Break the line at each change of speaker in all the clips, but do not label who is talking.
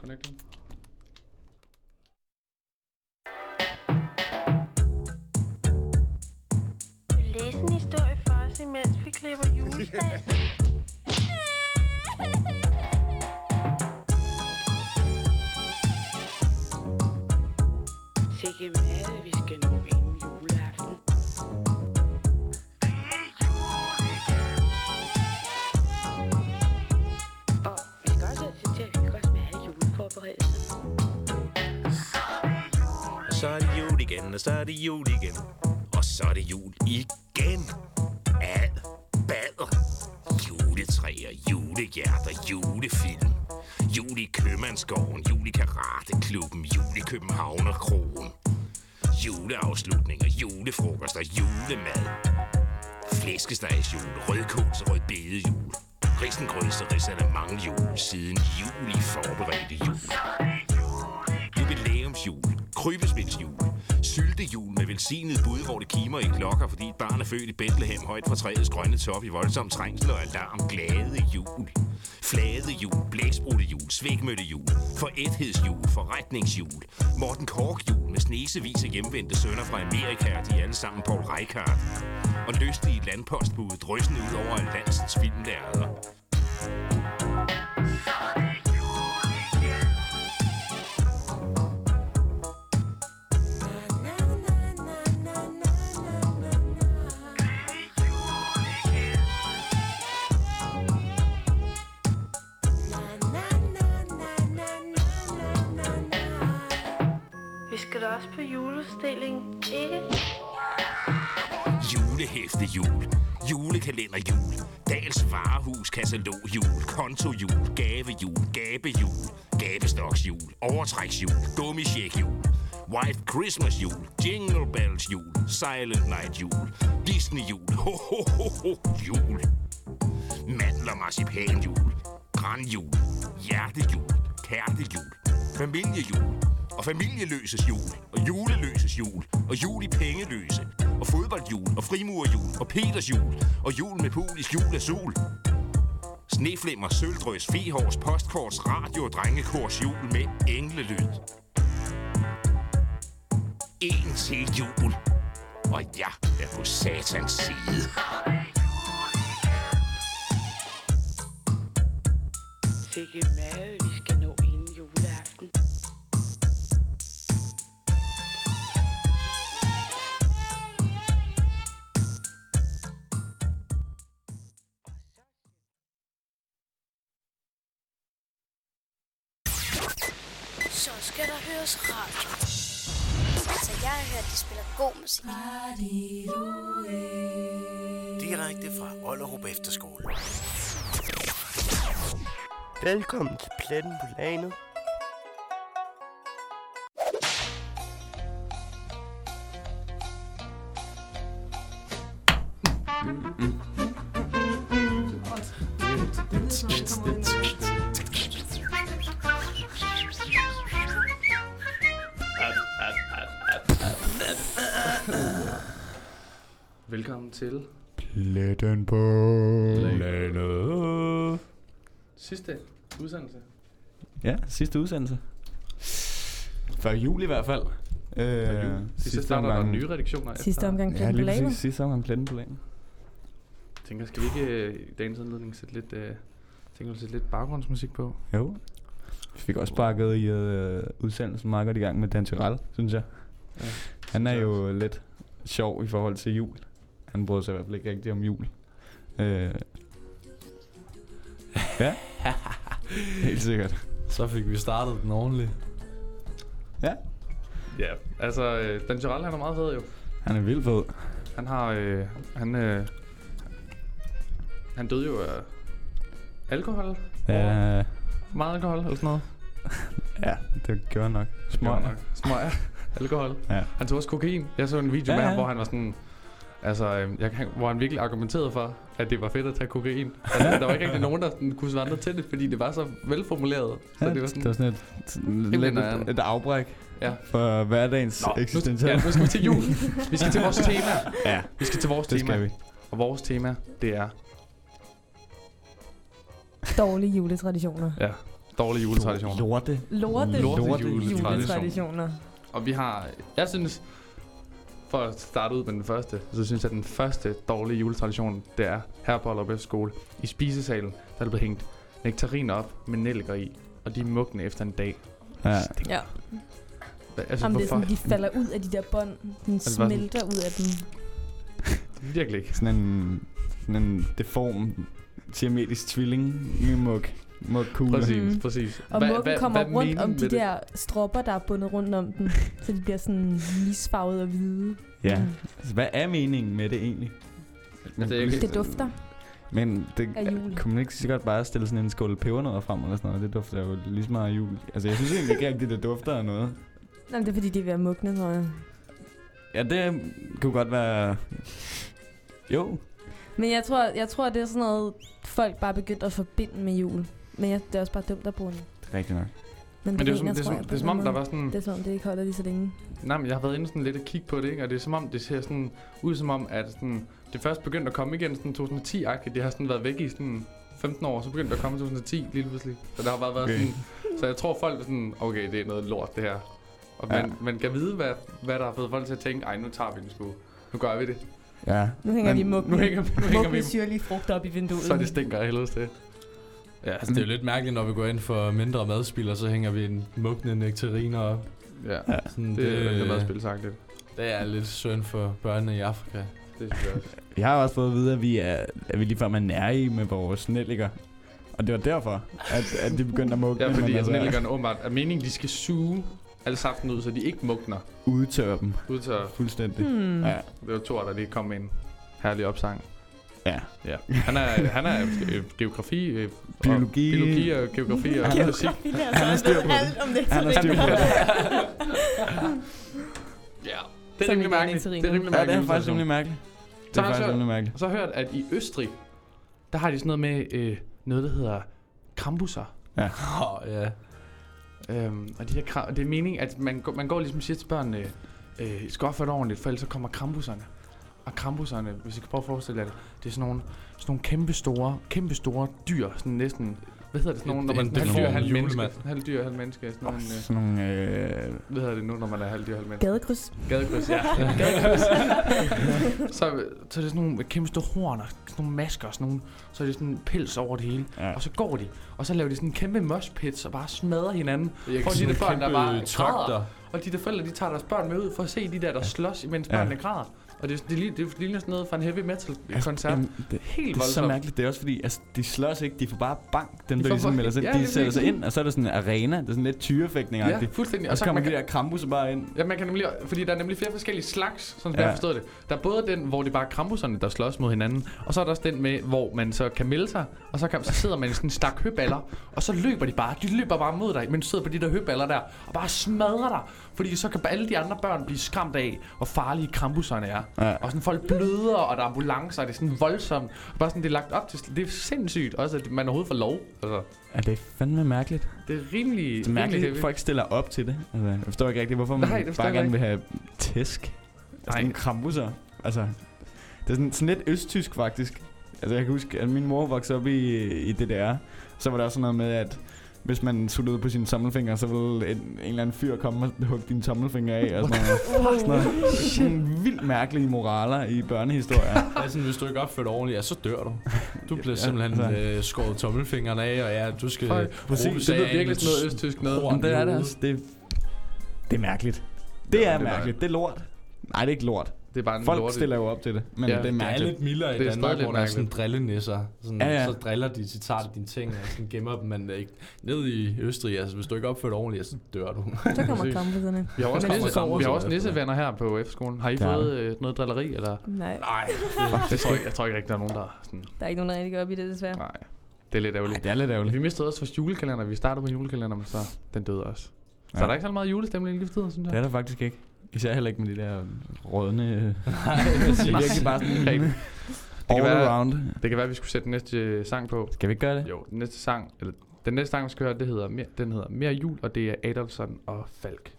connecting.
Læs en historie for os, imens vi klipper julesdag.
Sikke mad, vi skal nå inden juleaften. Og vi skal også se til, at vi kan også med alle juleforberedelser.
Og så er det jul igen, og så er det jul igen. Og så er det jul igen. Ad bader. Juletræer, julehjerter, julefilm. Jul i Købmandsgården, jul i Karateklubben, jul i Københavnerkrogen. Juleafslutninger, julefrokoster, julemad. Flæskestegsjul, rødkåls og rødbedejul. Risengrødse, risalamangjul, siden juli forberedte jul. Jubilæumsjul, krybesvindsjul, syltejul med velsignet bud, hvor det kimer i klokker, fordi et barn er født i Bethlehem højt fra træets grønne top i voldsom trængsel og alarm. Glade jul, flade jul, blæsbrudte jul, svægmødte jul, foræthedsjul, forretningsjul, Morten Kork jul med snesevis af hjemvendte sønner fra Amerika, og de er alle sammen Paul Reichardt, og lystige landpostbud drøsende ud over landsens filmlærder.
Vi skal da også på julestillingen, ikke?
Julehæfte jul, julekalender jul, Dals varehus katalog jul, konto jul, gave jul, gabe jul, gabestoks jul, overtræksjul, gummisjek jul, White Christmas jul, Jingle Bells jul, Silent Night jul, Disney jul, ho ho ho ho jul, mandel og marcipan jul, granjul, hjertejul, kærtejul, familiejul, og familieløses jul, og juleløses jul, og jul i pengeløse, og fodboldjul, og frimurerjul, og Peters jul, og jul med polisk jul af sol. Sneflimmer, sølvdrøs, fehårs, postkorts, radio og drengekors jul med englelyd. En til jul, og jeg er på satans side.
Sikke mad, vi skal nå inden juleaften.
Så skal der høres radio. Altså, jeg har hørt, de spiller god musik.
Direkte fra Ollerup Efterskole.
Velkommen til Pletten på Lanet.
Velkommen til
Pletten på landet.
sidste udsendelse.
Ja, sidste udsendelse. Før jul i hvert fald. Øh,
Sidste så starter der nye redaktioner. efter.
Sidste omgang
Ja,
Planet
lige
Planet.
præcis. Sidste omgang pletten på landet.
Jeg tænker, skal vi ikke øh, i dagens anledning sætte lidt, øh, tænker, du, sætte lidt baggrundsmusik på?
Jo. Vi fik også bakket i øh, udsendelsen meget godt i gang med Dan Tyrell, synes jeg.
Ja,
Han er
jeg
jo lidt sjov i forhold til jul. Han bryder sig i hvert fald ikke rigtig om jul. Øh. Ja. Helt sikkert.
Så fik vi startet den ordentligt.
Ja, altså, øh, Dan Gerald, han er meget fed jo.
Han er vildt fed.
Han har, øh, han, øh, han døde jo af alkohol.
Ja,
For meget alkohol eller sådan noget.
ja det gør nok. Smart.
Ja, nok. Smøger. Alkohol.
Ja.
Han tog også kokain. Jeg så en video ja,
Ja,
med ham,
ja.
hvor han var sådan... Altså, øhm, jeg, kan- hvor han virkelig argumenterede for, at det var fedt at tage kokain. Altså, der var ikke rigtig nogen, der sådan kunne svare til det, fordi det var så velformuleret. Så det var sådan,
det var sådan et, sådan
Helt
lidt
nøjeren.
et, et afbræk
Ja.
for hverdagens
nu, ja,
eksistentielle.
nu skal vi til jul. Vi skal til vores tema.
ja,
Vi skal til vores
det
tema.
skal vi.
Og vores tema, det er...
Dårlige juletraditioner.
Ja, dårlige juletraditioner.
Lorte.
Lorte,
Lorte
juletraditioner.
Og vi har, jeg synes, for at starte ud med den første, så synes jeg, at den første dårlige juletradition, det er her på Allerød skole. I spisesalen, der er der blevet hængt nektariner op med nælker i, og de er mugne efter en dag.
Ja.
Ja.
Hva- Altså,
Jamen, det
hvorfor? Altså,
er sådan, de falder ud af de der bånd. Den
det bare
smelter ud af dem.
Virkelig ikke.
Sådan en, sådan en deform siametisk tvilling med mug. Mug kugle.
Præcis,
Mm.
præcis.
Og
Hva-
muggen
hva-
kommer
hvad er
rundt
meningen
om
med
de
det?
der stropper, der er bundet rundt om den. så de bliver sådan misfarvet og hvide.
Ja.
Mm.
Altså, hvad er meningen med det egentlig? Men,
det er ikke-
Det dufter.
men det,
Af jul.
kunne man ikke så godt bare stille sådan en skål pebernødder frem eller sådan noget? Det dufter jo lige så meget af jul. Altså, jeg synes egentlig ikke rigtigt, det dufter af noget.
Nå, men det er fordi, de er ved at mugne, tror jeg.
Ja, det kunne godt være... Jo.
Men jeg tror, jeg tror, det er sådan noget, folk bare er begyndt at forbinde med jul. Men jeg, det er også bare dumt at bruge den.
Det er rigtigt nok.
Men
Men det er, jo sådan,
mener,
det, er,
tror
som,
jeg,
det
på
er som om,
den
der
måde.
var sådan...
Det er som om, det ikke holder lige så længe.
Nej, men jeg har været inde sådan lidt og kigge på det, ikke? Og det er som om, det ser sådan ud som om, at sådan, det først begyndte at komme igen sådan 2010-agtigt. Det har sådan været væk i sådan 15 år, og så begyndte det at komme i 2010 lige pludselig. Så der har bare været
Okay.
okay. sådan... Så jeg tror, folk er sådan, okay, det er noget lort, det her. Og
Ja.
man, man kan vide, hvad, hvad der har fået folk til at tænke, ej, nu tager vi den sgu. Nu gør vi det.
Ja.
Nu hænger
Men
de mugne.
Nu hænger, vi- nu hænger vi
mugne syrlige frugter op i vinduet.
så det stinker af helvedes det. Ja,
Altså, det er jo lidt mærkeligt, når vi går ind for mindre madspil, og så hænger vi en mugne nektariner op.
Ja,
Sådan,
det, det, det er meget spilsagtigt.
det er lidt synd for børnene i Afrika.
Det synes jeg også.
Vi har også fået at vide, at vi, er, at vi ligefrem er nære i med vores nelliker. Og det var derfor, at, at de begyndte at mugne.
Ja,
men
fordi altså,
altså,
nellikerne åbenbart er meningen, de skal suge alle saften ud, så de ikke mugner.
udtørre dem
Ud til at
fuldstændig.
Hmm.
Ja.
Det var Thor, der lige kom med en herlig opsang.
Ja.
ja. Han er, han er øh, geografi, øh,
Biologi.
Og, biologi og geografi og
Geografi.
musik.
Det er altså
Han har styr på
ved alt om det.
Han har styr på det.
Ja. Det
Som
er
ikke er
rimelig mærkeligt.
nektariner.
Det er rimelig
Ja, det er
mærkeligt.
faktisk rimelig mærkeligt. Det
Så
er
har jeg
faktisk
så-
rimelig mærkeligt.
Og så har jeg hørt, at i Østrig, der har de sådan noget med øh, noget, der hedder krambuser.
Åh, ja.
Øhm, og de her kram, det er meningen, at man, går- man går ligesom og siger til børnene, øh, "I skal opføre dig ordentligt, for ellers så kommer krambusserne. Og krambusserne, hvis I kan prøve at forestille jer det, det er sådan nogle, sådan nogle kæmpe store, kæmpe store dyr, sådan næsten, hvad hedder det sådan nogle, når
En-
man
en
halv dyr,
deform
halv menneske,
julemand.
halv dyr, halv menneske, sådan nogle, øh,
Sådan nogle... Øh,
hvad hedder det nu, når man er halv dyr, halv menneske?
Gadekryds.
Gadekryds, ja. Gadekryds. så, så er det sådan nogle kæmpe store horn og sådan nogle masker og sådan nogle, så er det sådan pels over det hele.
ja.
Og så går de, og så laver de sådan en kæmpe mosh pits og bare smadrer hinanden.
Jeg kan
Prøv at sige,
sige,
det
det
er børn, der bare
kæmpe trakter.
Og de der forældre, de tager deres børn med ud for at se de der, der slås, imens
Ja. Altså,
børnene græder. Og det, er- det, ligner- det ligner sådan noget fra en heavy metal koncert.
Jamen, det,
Helt
det er så
voldsomt.
mærkeligt. Det er også fordi, altså, de slås ikke. De får bare bank, dem
De
der
får
ligesom
bare-
melder sig.
Ja,
De
det er
sætter sig
virkelig-
ind, og så er der sådan en arena. Det er sådan lidt tyrefægtning
Ja, fuldstændig.
Og så kommer
man
de
kan,
der krambusser bare ind.
ja, man kan nemlig, fordi der er nemlig flere forskellige slags, sådan som
Ja.
jeg forstod det. Der er både den, hvor det bare er krambusserne, der slås mod hinanden, og så er der også den med, hvor man så kan melde sig, og så, kan, så sidder man i sådan en stak høballer, og så løber de bare, de løber bare mod dig, men du sidder på de der høballer der, og bare smadrer dig, fordi så kan alle de andre børn blive skræmt af, hvor farlige krambusserne er.
Ja.
Og sådan folk bløder, og der er ambulancer, og det er sådan voldsomt. Og bare sådan, det er lagt op til... Det er sindssygt også, at man overhovedet får lov. Altså,
Ja, det er fandme mærkeligt.
det er rimelig...
Det er mærkeligt, at
rimelig
folk stiller op til det. Altså, jeg forstår ikke rigtigt, hvorfor man
Nej, det
Nej,
forstår
bare
jeg
gerne
ikke.
vil have tæsk. Altså,
Nej.
nogle krambusser. Altså, det er sådan, sådan lidt østtysk, faktisk. Altså, jeg kan huske, at min mor voksede op i, i DDR. Så var der også sådan noget med, at hvis man suttede på sine tommelfingre, så ville en, en eller anden fyr komme og hugge dine tommelfingre af. Og sådan noget. sådan noget. Sådan vildt mærkelige moraler i børnehistorier.
Altså, hvis du ikke opfører dig ordentligt, ja, så dør du. Du bliver
Ja,
simpelthen
altså.
øh, skåret tommelfingeren af, og ja, du skal...
Fuck,
præcis.
rubes
Det lyder
af med
virkelig sådan noget
et
østtysk noget.
horn
Jamen, det
i
er det
hovedet.
altså. Det, det er mærkeligt. Det
Ja,
er
det er
mærkeligt. Det er lort. Nej, det er ikke lort.
Det er bare en
Folk
lorte-
stiller jo op til det, men
Ja,
ja, det er
Det er
mærkeligt.
lidt mildere i
Det er
Danmark,
stadig
hvor
lidt
der er sådan
mærkeligt.
drillenisser. Sådan,
Ja, ja.
Så driller de, så tager de dine ting og sådan gemmer dem, men ikke. Ned i Østrig, altså hvis du ikke opfører dig ordentligt, så dør du.
Så kommer
Præcis.
krampusserne.
Vi har også,
Men
nisse,
det kommer
vi har
så
også
efter.
nissevenner her på F-skolen. Har I
Ja.
fået øh, noget drilleri, eller?
Nej,
Nej,
Jeg tror, ikke, jeg tror ikke rigtig, der er nogen, der er sådan...
der er ikke nogen, der rigtig går op i det, desværre.
Nej, det er lidt
Ej,
ærgerligt.
det er lidt ærgerligt.
Vi mistede også vores julekalender. Vi startede på julekalender, men så den døde også. Så
Ja.
er der ikke så meget julestemning lige for tiden, synes jeg.
Det er der faktisk ikke. Især heller ikke med de der rådne... det
præcis.
er virkelig bare sådan
Rigtig. kan
all
være-
around.
Det kan være, at vi skulle sætte den næste øh, sang på.
Skal vi ikke gøre det?
Jo, den næste sang, eller den næste sang, vi skal høre, det hedder mere, den hedder Mere Jul, og det er Adolfsson og Falk.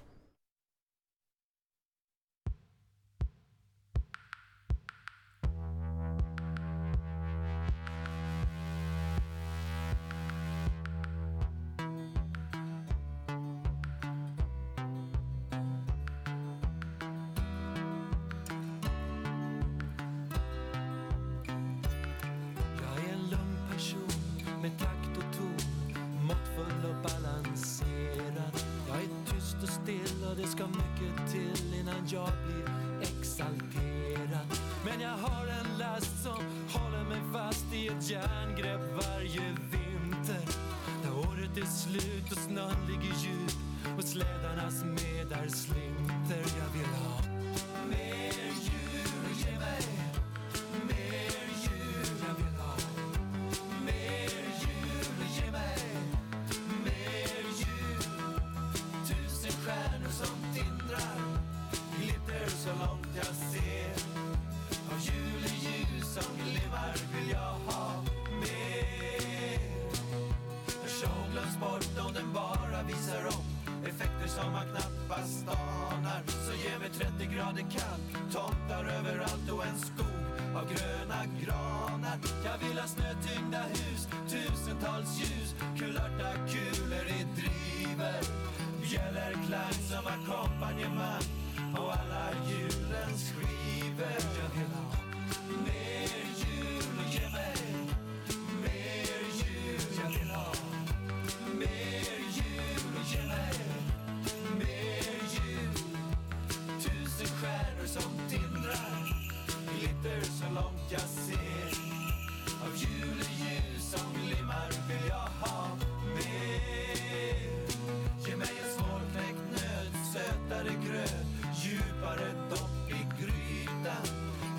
ska mycket till innan jag blir exalterad Men jag har en last som håller mig fast i ett järngrepp varje vinter När året är slut och snön ligger djup och slädarnas medar slinter Jag vill ha mer djur, ge mig mer djur Jag vill ha mer djur, ge mig mer djur Tusen stjärnor som tindrar glitter så långt jag ser Av juleljus som glimmar vill jag ha mer En show glöms bort om den bara visar upp Effekter som man knappast anar Så ge mig 30 grader kallt Tomtar överallt och en skog av gröna granar Jag vill ha snötyngda hus, tusentals ljus Kulörta kulor i driver Bjällerklang som ackompanjemang på alla julens skivor Jag vill ha mer jul, ge mig mer jul Jag vill ha mer jul, ge mig mer jul Tusen stjärnor som tindrar glitter så långt jag ser Av juleljus som glimmar vill jag ha mer Ge mig en svårknäckt nöt, sötare gröt Djupare dopp i grytan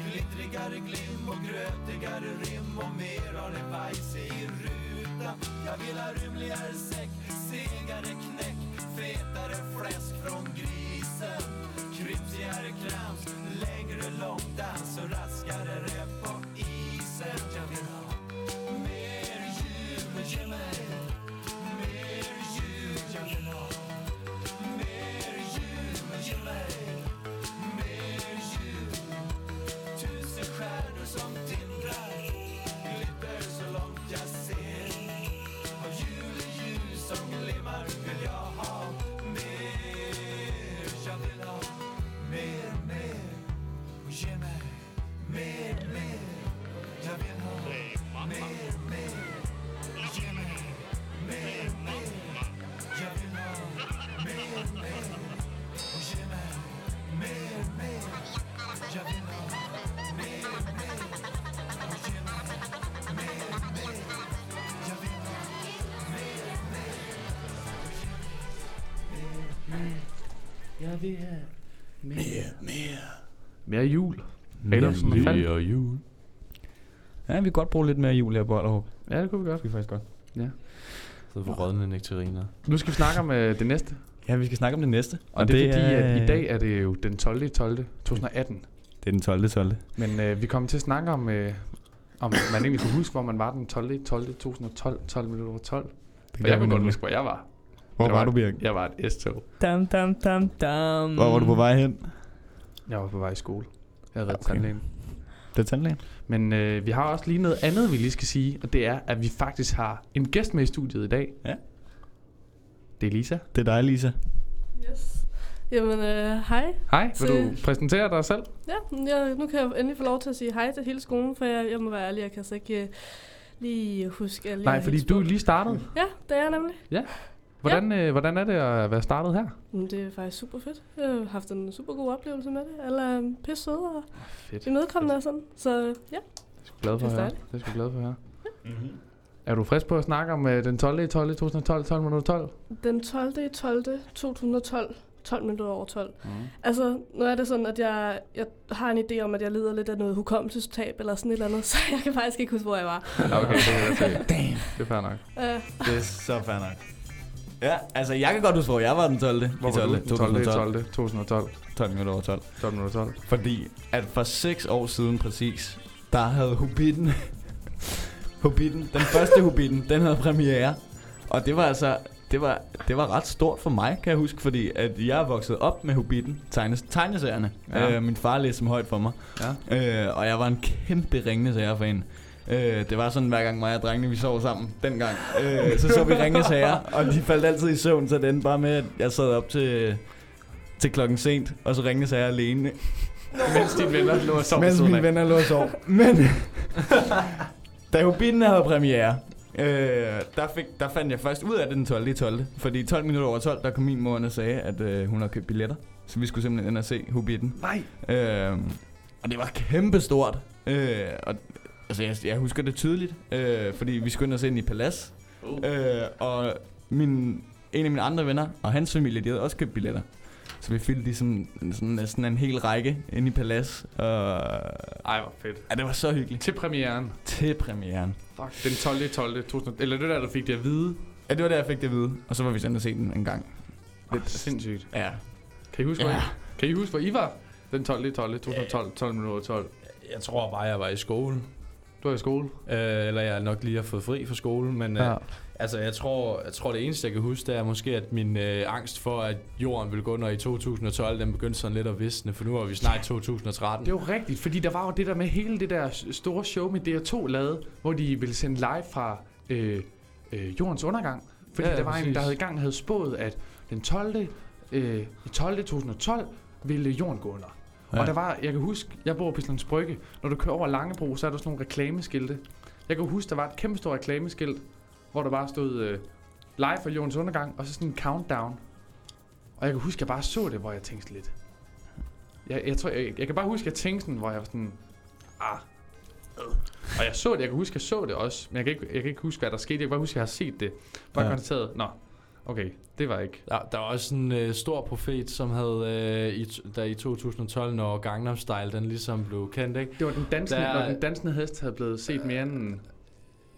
Glittrigare glim och grötigare rim Och mer har ni bajs i rutan Jag vill ha rymligare säck, segare knäck Fetare fläsk från grisen Kryptigare krams, längre långdans Och raskare rep på isen Jag vill ha mer jul, ge mig mer jul Jag vill ha mer jul, ge mig mer jul Tusen stjärnor som tindrar glitter så långt jag ser Av juleljus som glimmar vill jag ha mer Jag vill ha mer, mer och ge mig mer, mer Jag vill ha mer, mer och ge mig mer, mer Jag vill ha mer, mer och ge mig mer, mer Jag vill ha mer, mer och ge mig mer, mer Jag vill ha mer, mer
Jeg vil have
mere,
mere. Mere jul. Eller sådan
Mere
noget.
jul.
Ja, vi kan godt bruge lidt mere jul her på Allerhåb.
Ja, det kunne vi godt.
Det er faktisk godt.
Ja.
Så for rådne nektariner.
Nu skal vi snakke om øh, det næste.
Ja, vi skal snakke om det næste.
Og, og det, det er fordi, at i dag er det jo den 12. 12. 2018.
Det er den 12. 12.
Men øh, vi kommer til at snakke om, øh, om man egentlig kunne huske, hvor man var den 12. 12. 2012. 12 minutter over 12. For
gør
jeg
vi
kunne godt
nemlig.
huske, hvor jeg var.
Hvor
Jeg
var du, Birk?
Jeg var et S-tog.
Dam, dam, dam, dam.
Hvor var du på vej hen?
Jeg var på vej i skole. Jeg havde reddet tandlægen.
Det er tandlægen.
Men øh, vi har også lige noget andet, vi lige skal sige, og det er, at vi faktisk har en gæst med i studiet i dag.
Ja.
Det er Lisa.
Det er dig, Lisa.
Yes. Jamen, øh, hej.
Hej, vil
Til-
du præsentere dig selv?
Ja, ja, nu kan jeg endelig få lov til at sige hej til hele skolen, for jeg, jeg må være ærlig, jeg kan altså ikke øh, lige huske alle.
Nej,
jer
fordi
helt-
du er lige startet.
Ja, det er jeg nemlig.
Ja. Hvordan, øh, hvordan er det at være startet her?
Men det er faktisk super fedt. Jeg har haft en super god oplevelse med det. Alle er øhm, pisse søde og
Ah, Fedt.
imødekommende og sådan. Så øh, ja.
Glad for at
Det er
høre.
dejligt.
Det er sgu glad for at høre. Mm-hmm. Er du frisk på at snakke om øh, den 12. 12. 2012, 12 minutter 12?
Den 12. i 12. 2012. 12 minutter over 12.
Mm.
Altså, nu er det sådan, at jeg, jeg har en idé om, at jeg lider lidt af noget hukommelsestab eller sådan et eller andet, så jeg kan faktisk ikke huske, hvor jeg var.
Ja, okay, det er det. Damn. Det er fair nok.
Øh,
Det er så fair nok. Ja, altså jeg kan godt huske, hvor jeg var den 12.
Hvor
i
var du
12.
den 12. i 12. 2012.
12 minutter over 12.
12 minutter 12.
Fordi at for 6 år siden præcis, der havde Hobbiten, Hobbiten, den første Hobbiten, den havde premiere. Og det var altså, det var, det var ret stort for mig, kan jeg huske, fordi at jeg er vokset op med Hobbiten, tegnes, tegneserierne.
Ja.
Ja. Øh, min far læste dem højt for mig. Ja. Øh, og jeg var en kæmpe ringende sager-fan. Øh, det var sådan, hver gang mig og drengene, vi sov sammen dengang, øh, så så vi ringende sager, og de faldt altid i søvn, så den bare med, at jeg sad op til, til klokken sent, og så ringende sager alene.
Mens dine venner lå og sov ved
Mens
siden
mine
af.
venner lå og sov. Men da Hobbiten havde premiere, Øh, der, fik, der fandt jeg først ud af det den 12. i 12. Fordi 12 minutter over 12, der kom min mor ind og sagde, at øh, hun havde købt billetter. Så vi skulle simpelthen ind og se Hobbiten. Nej! Øh, og det var kæmpestort. Øh, og, altså, jeg, jeg husker det tydeligt, øh, fordi vi skulle ind og se den i Palads. Uh. Øh, og min, en af mine andre venner og hans familie, de havde også købt billetter. Så vi fyldte ligesom sådan, næsten en hel række inde i Palads. Og...
Ej, hvor fedt.
Ja, det var så hyggeligt.
Til premieren.
Til premieren.
Fuck. Den 12. 12. 2000, eller det der, du fik det at vide.
Ja, det var der, jeg fik det at vide. Og så var vi sendt og se den en gang.
Det er sindssygt.
Ja.
Kan I huske, ja.
Ja.
hvor I, kan I huske, hvor I var den 12. 12. 2012, 12 minutter 12?
Jeg tror bare, jeg var i skole.
Du var i skole?
Øh, eller jeg nok lige har fået fri fra skolen, men ja.
Ja.
øh, altså, jeg, tror, jeg tror, det eneste, jeg kan huske, det er måske, at min øh, angst for, at jorden ville gå under i 2012, den begyndte sådan lidt at visne, for nu var vi snart i 2013.
Det er jo rigtigt, fordi der var jo det der med hele det der s- store show med DR2 lavede, hvor de ville sende live fra øh, øh, jordens undergang. Fordi
Ja,
ja,
ja,
der var præcis.
præcis.
en, der havde i gang havde spået, at den 12. Øh, i 12. 2012 ville jorden gå under. Ja.
Ja.
Og der var, jeg kan huske, jeg bor på Islands Brygge. Når du kører over Langebro, så er der sådan nogle reklameskilte. Jeg kan huske, der var et kæmpe stort reklameskilt, hvor der bare stod øh, live fra jordens undergang, og så sådan en countdown. Og jeg kan huske, jeg bare så det, hvor jeg tænkte sådan lidt, jeg, jeg, tror, jeg, jeg kan bare huske, at jeg tænkte sådan, hvor jeg var sådan, ah, øh. og jeg så det, jeg kan huske, at jeg så det også, men jeg kan ikke, jeg kan ikke huske, hvad der skete, jeg kan bare huske, at jeg har set det. Bare
Ja.
ja. konstateret, nå, okay, det var ikke.
Der, der var også en øh, stor profet, som havde, øh, i, t- der i 2012, når Gangnam Style, den ligesom blev kendt, ikke?
Det var den dansende,
Der-
der... når den dansende hest havde blevet set mere end en,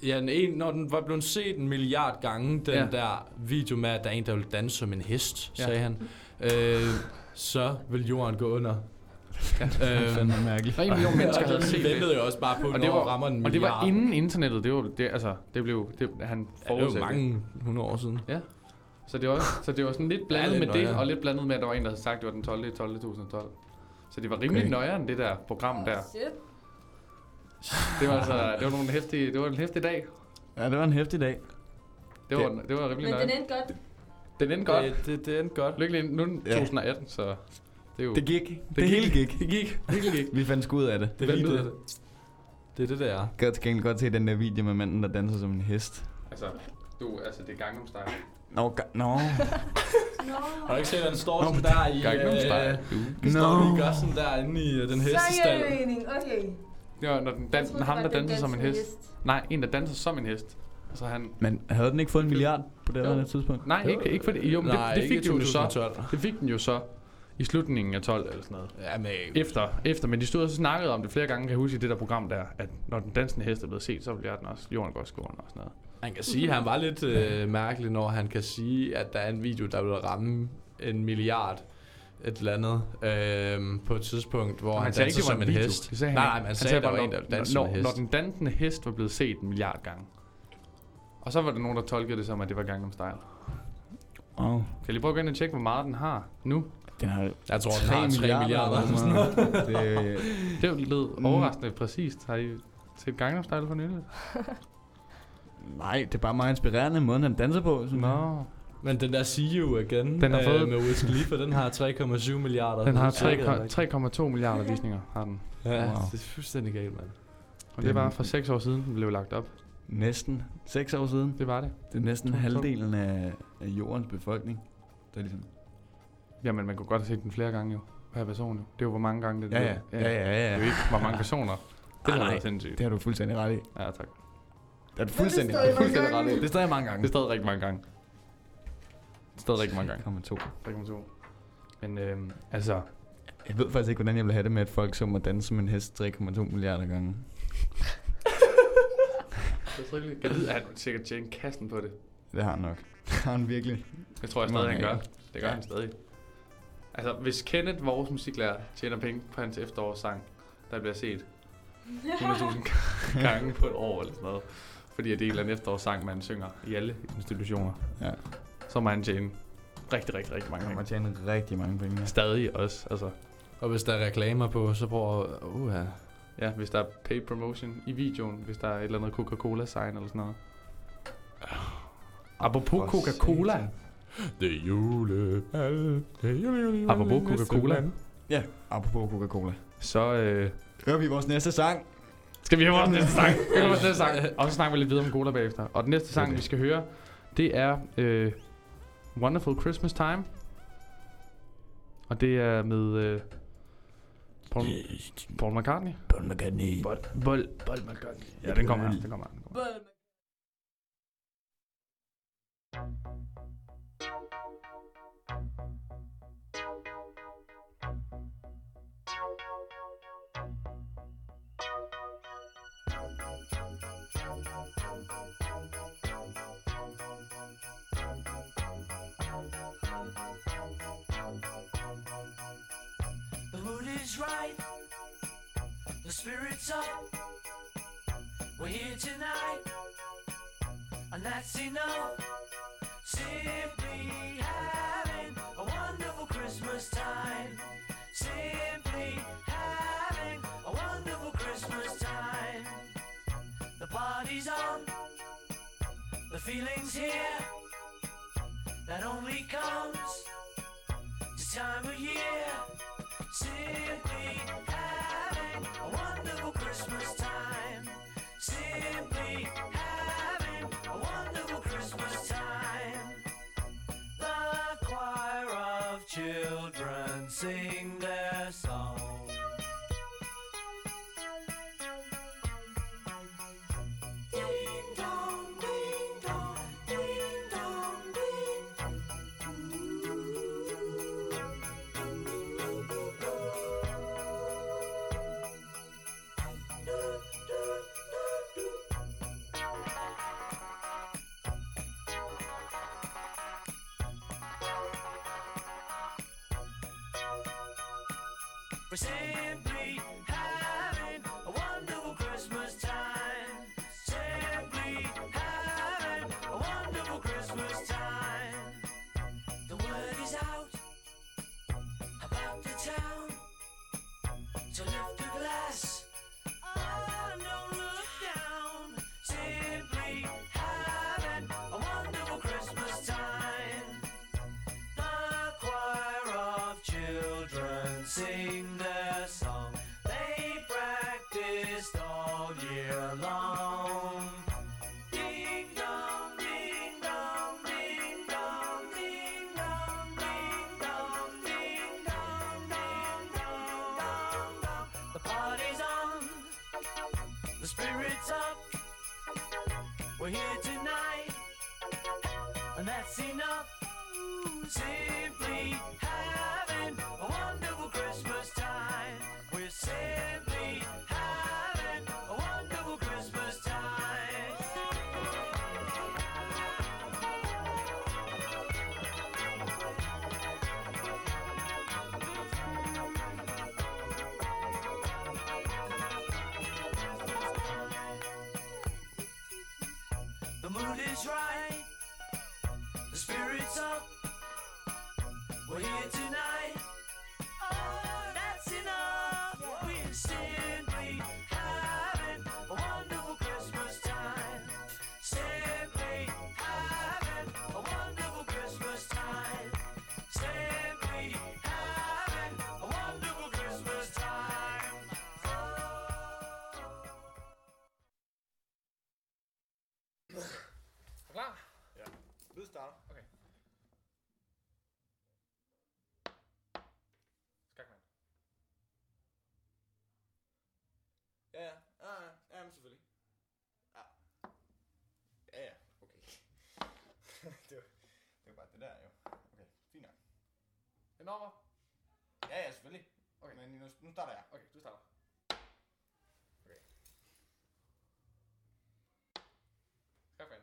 Ja, den en, når den var blevet set en milliard gange, den ja.
Ja.
der video med, at der er en, der vil danse som en hest,
Ja.
sagde han, øh, så vil jorden gå under. Øh, Ja,
er fandme mærkeligt.
Og en million mennesker havde
det.
set
Øhm, ventede jo også bare på,
og
når
det var,
rammer en milliard.
Og det var inden internettet, det var, det, altså, det blev, det, han
ja, det var
forudsagde
mange hundrede år siden.
Ja. Så det var, så det var sådan lidt
Ja,
blandet
det er
med det,
nøjeren.
og lidt blandet med, at der var en, der havde sagt, at det var den 12. 12. 2012. Så det var rimelig
Okay.
okay. nøjeren, det der program der.
Shit.
Det var altså, det var nogle hæftige, det var en hæftig dag.
Ja, det var en hæftig dag.
Det var, det var rimelig
Men den
nøjeren.
endte godt.
Den endte godt.
Det, det, det endte godt.
Lykkelig ind. Nu er den
Ja.
2018, så det er jo...
Det gik. Det, det hele gik.
Det gik. Det gik.
Vi fandt sgu ud af det.
Det er lige det. Det er det, der er.
Godt til gengæld godt se den der video med manden, der danser som en hest.
Altså, du, altså det er Gangnam Style.
Nå, ga- nå.
Har du ikke set, at den står
Nå,
sådan der i... øh,
Gangnam Style.
øh,
Den
Nå.
står lige gør sådan der inde i øh, den hestestald.
mening, okay.
Ja, når den
troede,
dan-
det
ham,
var
der
den
danser som en
dansende
hest. Nej, en, der danser som en hest. Altså han...
Men havde den ikke fået en milliard på det her tidspunkt?
Nej, ikke, ikke for det. Jo, men
Nej,
Nej, det, det
ikke i
fik den jo så.
2012.
Det fik den jo så i slutningen af 12 eller sådan noget.
Ja, men
Efter, efter, men de stod og snakkede om det flere gange, kan jeg huske i det der program der, at når den dansende hest er blevet set, så bliver den også, jorden går skoven og sådan noget.
Man kan sige, at han var lidt øh, mærkelig, når han kan sige, at der er en video, der vil ramme en milliard et eller andet øh, på et tidspunkt, hvor han, han
sagde
danser som en
video.
hest.
Det sagde han
nej,
ikke.
nej, men han sagde, at der var
bare,
en, der
når-
danser som
når,
en hest.
Når den dansende hest var blevet set en milliard gange. Og så var der nogen, der tolkede det som, at det var Gangnam Style.
Åh,
Kan jeg lige prøve at gå ind og tjekke, hvor meget den har nu?
den har
Jeg tror, den har 3 milliarder. eller sådan noget.
det,
Det lød overraskende præcist. Har I set Gangnam Style for nylig?
nej, det er bare meget inspirerende måden, han danser på. Sådan.
Nå.
Men den der See You igen øh,
Den har fået-
med Wiz Khalifa, den har 3,7 milliarder.
Den har
Så tjekkede jeg
3,2
ikke.
3,2 milliarder visninger, har den.
Ja,
Wow.
det er fuldstændig galt, mand.
Og det var for 6 år siden, den blev lagt op.
Næsten. Seks år siden.
Det var det.
Det er næsten
To- to.
halvdelen af, af jordens befolkning. Der ligesom
Jamen, man kunne godt have set den flere gange jo. Per person jo. Det er jo, hvor mange gange det
Ja, ja. Ja, ja, ja, ja.
Det er jo ikke, hvor mange personer.
Nej,
Det er
Ah, nej.
været sindssygt.
Det har du fuldstændig ret i. Det
Ja, tak.
er du fuldstændig,
stadig
det er fuldstændig
mange
ret i.
gange.
Det er stadig mange gange.
Det er stadig rigtig mange gange. Stadig rigtig mange gange.
Kommer to.
3,2. Men øhm, altså,
Jeg ved faktisk ikke, hvordan jeg vil have det med, at folk så må danse som en hest 3,2 milliarder gange.
jeg tror ikke, jeg ved, at han sikkert tjene kassen på det.
Det har han nok. Det har han virkelig.
Det tror jeg
Mange
stadig, han gør.
gange.
Det gør
Ja.
han stadig. Altså, hvis Kenneth, vores musiklærer, tjener penge på hans efterårssang, der bliver set 100.000 gange på et år eller sådan noget, fordi at det er en eller anden efterårssang, man synger i alle institutioner,
Ja.
så må han tjene rigtig, rigtig, rigtig mange
Han må
penge.
tjene rigtig mange penge.
Stadig også, altså.
Og hvis der er reklamer på, så prøver... Uh, ja.
Ja, hvis der er paid promotion i videoen, hvis der er et eller andet Coca-Cola-sign eller sådan noget. Apropos Coca-Cola.
Det er jule, al- det er jule, jule, jule,
Apropos
næste
Coca-Cola.
land.
Ja, apropos Coca-Cola.
Så, øh,
Hører vi vores næste sang?
Skal vi høre vores næste sang? Vi hører vores næste sang. Og så snakker vi lidt videre om Gola bagefter. Og den næste sang, vi skal høre, det er øh, Wonderful Christmas Time. Og det er med øh, Paul, Paul McCartney. Paul McCartney. Paul, Paul, Paul McCartney. Ja, den kommer her. Den kommer her. Den kommer. her.
The mood is right, the spirit's up. We're here tonight, and that's enough. Simply having a wonderful Christmas time. Simply having a wonderful Christmas time. The party's on, the feeling's here. That only comes this time of year. Simply having a wonderful Christmas time. Simply having a wonderful Christmas time. The choir of children sing their song. Ding dong, ding dong, ding dong, ding. We're simply having a wonderful Christmas time. Simply having a wonderful Christmas time. The word is out about the town. So lift a glass. Oh, don't look down. Simply having a wonderful Christmas time. The choir of children sing their song. They practiced all year long. Ding dong, ding dong, ding dong, ding dong, ding dong, ding dong, ding dong, dong, dong. The party's on, the spirit's up. We're here tonight, and that's enough. Simply having a wonderful Christmas time. We're simply having a wonderful Christmas time. The mood is right, the spirit's up. We're here tonight. Oh, that's enough. We're simply having a wonderful Christmas time. Simply having a wonderful Christmas time. Simply having a wonderful Christmas time.
Klar?
Ja. Lyd starter.
Okay.
Ja, ja. Ja, ja. ja men selvfølgelig. Ja. Ja, ja. Okay. det, var, det var bare det der, jo. Okay, fint nok.
Den over.
Ja, ja, selvfølgelig. Okay. Men nu, nu starter jeg. Okay, du starter.
Skak mand.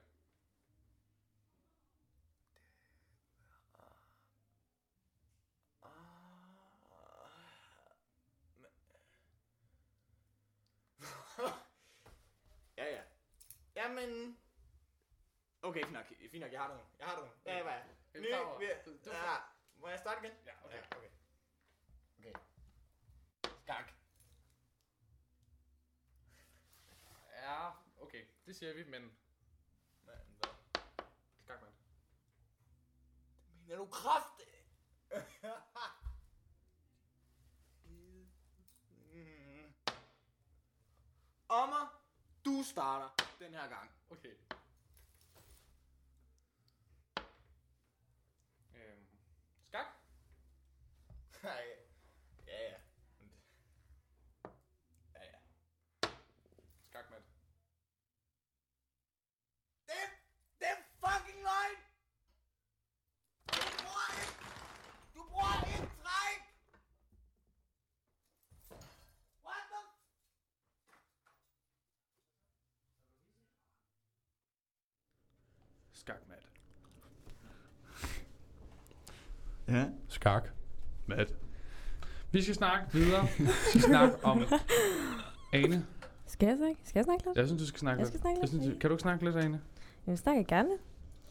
Ja, ja. Jamen... Okay, fint nok. Fint nok, jeg har det nu. Jeg har det nu. Ja, hvad er
Er
jeg?
du
Ny,
klar over-
vi,
du- du-
ja. Må jeg starte igen? Ja, okay. Ja, okay. Okay. Skak.
Ja, okay. Det siger vi, men... Skak mand.
Mener du kraft? Mm. Ommer. starter den her gang. Okay. Øhm. Skak? Nej. Ja, ja. Men det- Ja, ja. Skak, mand. Det, det er fucking løgn! Du bruger et, du bruger et træk! What the
Skak, Matt.
Ja.
Skak.
Matt. Vi skal snakke videre. Vi skal snakke om... Ane.
Skal jeg snakke? Skal jeg snakke lidt?
Jeg synes, du skal snakke
Jeg skal snakke
Jeg synes, du- kan du ikke snakke lidt, Ane?
Jamen, snakker jeg gerne.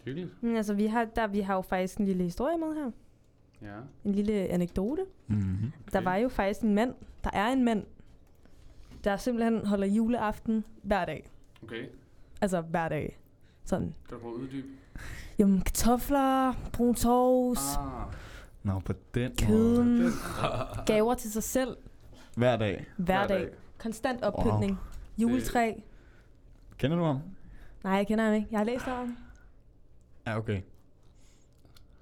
Hyggeligt.
Men altså, vi har, der, vi har jo faktisk en lille historie med her.
Ja.
En lille anekdote.
Mm-hmm.
Mhm.
Der var jo faktisk en mand, der er en mand, der simpelthen holder juleaften hver dag.
Okay.
Altså hver dag.
Mm.
Sådan.
Kan du prøve at uddybe?
Jamen, kartofler, brun sovs,
Nå, på den
Køden.
måde.
gaver til sig selv
Hver dag.
hver dag. Konstant oppyntning.
Wow.
Juletræ.
Kender du ham?
Nej, jeg kender ham ikke. Jeg har læst om ham.
Ja, okay.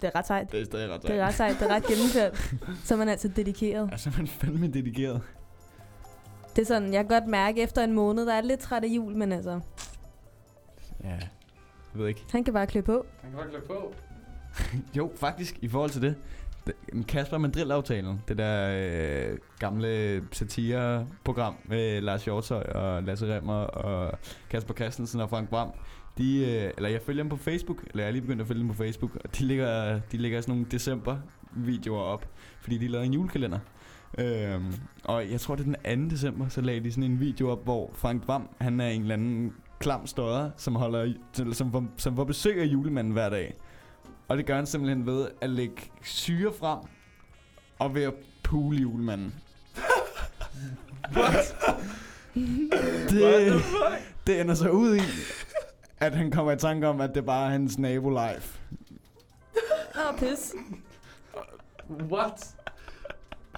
Det er ret sejt.
Det er stadig ret
Det er ret sejt. Det er ret gennemført. Så er man altså dedikeret.
Altså, man er fandme dedikeret.
Det er sådan, jeg kan godt mærke efter en måned, der er lidt træt af jul, men altså,
Ja, jeg ved ikke.
han kan bare klø på.
Han kan bare klikke på.
jo, faktisk, i forhold til det. det- men Kasper Mandrill-aftalen, det der øh, gamle satireprogram med Lars Hjortøj og Lasse Remmer og Kasper Christensen og Frank Bram, de, øh, eller jeg følger dem på Facebook, eller jeg er lige begyndt at følge dem på Facebook, og de lægger, de lægger sådan nogle december-videoer op, fordi de lavede en julekalender. Øhm, og jeg tror, det er den 2. december, så lagde de sådan en video op, hvor Frank Bram, han er en eller anden klam støder, som, holder, som, som, som får besøg af julemanden hver dag. Og det gør han simpelthen ved at lægge syre frem og ved at pule julemanden. What? det, det ender så ud i, at han kommer i tanke om, at det bare er hans nabo-life.
Åh, pis.
What?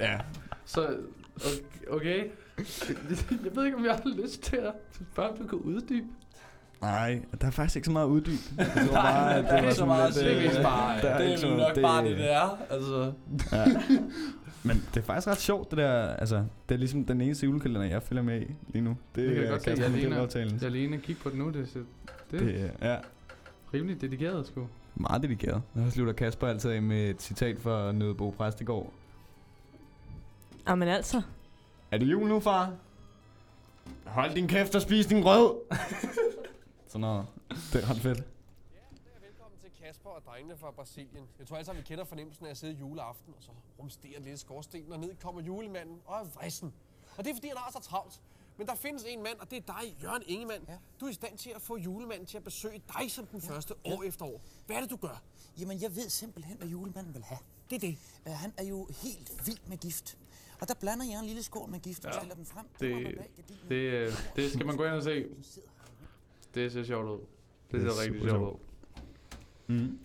Ja.
Så, okay- okay. Jeg ved ikke, om jeg har lyst til at spørge, om du kan uddybe.
Nej, der er faktisk ikke så meget uddyb. Jeg tror bare, at det var sådan lidt, øh,
det, bare,
der
det, det
ikke
er
så-
jo nok bare det, det er. Altså.
Ja. Men det er faktisk ret sjovt, det der, altså, det er ligesom den eneste julekalender, jeg følger med i lige nu. Det,
kan jeg
er
godt se.
Kasper
Jeg
Mandel
ligner-
aftalen.
Jeg er alene kigge på det nu. Det, det, det
Det
er
er- ja.
rimelig dedikeret, sgu.
Meget dedikeret. Og så slutter Kasper altid af med et citat fra Nødebo Præstegård.
Jamen altså.
Er det jul nu, far? Hold din kæft og spis din grød! Sådan noget. Det er ret fedt.
til Kasper og drengene fra Brasilien. Jeg tror altså, vi kender fornemmelsen af at sidde juleaften, og så rumsterer lidt i skorstenen, og ned kommer julemanden og er vrissen. Og det er fordi, han har så travlt. Men der findes en mand, og det er dig, Jørgen Ingemann. Ja. Du er i stand til at få julemanden til at besøge dig som den ja. første år efter år. Hvad er det, du gør?
Jamen, jeg ved simpelthen, hvad julemanden vil have.
Det er det.
Uh, han er jo helt vild med gift. Og der blander jeg en lille skål med gift ja. og stiller den frem.
Det, det, øh, det skal man gå ind og se. Det ser sjovt ud. Det
Det er
ser rigtig
super
sjovt ud.
Mm.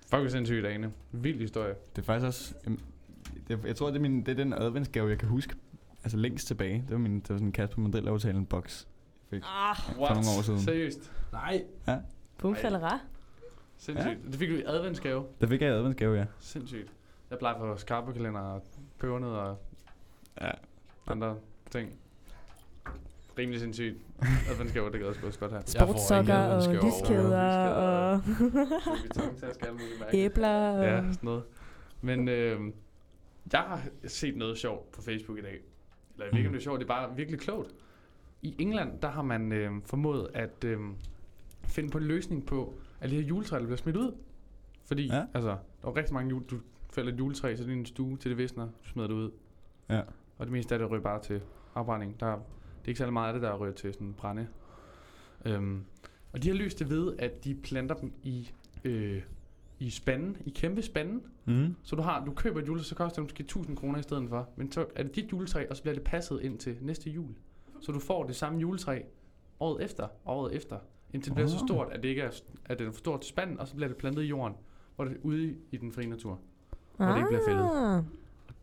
Fuck, hvor sindssygt, Ane. Vild historie.
Det er faktisk også... øhm, det- Jeg tror, det er, min, det er den adventsgave, jeg kan huske. Altså længst tilbage. Det var, min, det var sådan en Kasper Mandel-aftalen box. Jeg fik
Ah,
for nogle år siden.
Seriøst? Nej.
Ja.
Bum faldera.
Sindssygt. Det fik du i adventsgave.
Det fik jeg i adventsgave, ja.
Sindssygt. Jeg plejer for skarpekalender og pebernød og
ja.
andre ting. Rimelig sindssygt. Adventsgave, det kan også godt godt her.
Sportssokker og lyskæder og æbler. Og...
Ja, sådan noget. Men øh, jeg har set noget sjovt på Facebook i dag. Eller jeg ved ikke, om det er sjovt, det er bare virkelig klogt. I England, der har man øh, formået at øh, finde på en løsning på, at de her juletræer der bliver smidt ud. Fordi, ja. altså, der er rigtig mange jul, du fælder et juletræ, så det er en stue til det visner, du smider det ud.
Ja.
Og det meste af det ryger bare til afbrænding. Der, er- det er ikke særlig meget af det, der ryger til sådan brænde. Øhm, og de har løst det ved, at de planter dem i, øh, i spanden, i kæmpe spanden.
Mhm.
Så du har, du køber et juletræ, så koster det måske 1000 kroner i stedet for. Men så er det dit juletræ, og så bliver det passet ind til næste jul. Så du får det samme juletræ året efter, og året efter. Indtil det bliver så
Ah.
stort, at det ikke er, at det er for stort til
Ah.
spanden, og så bliver det plantet i jorden, hvor det er ude i den frie natur. Hvor det ikke bliver fældet.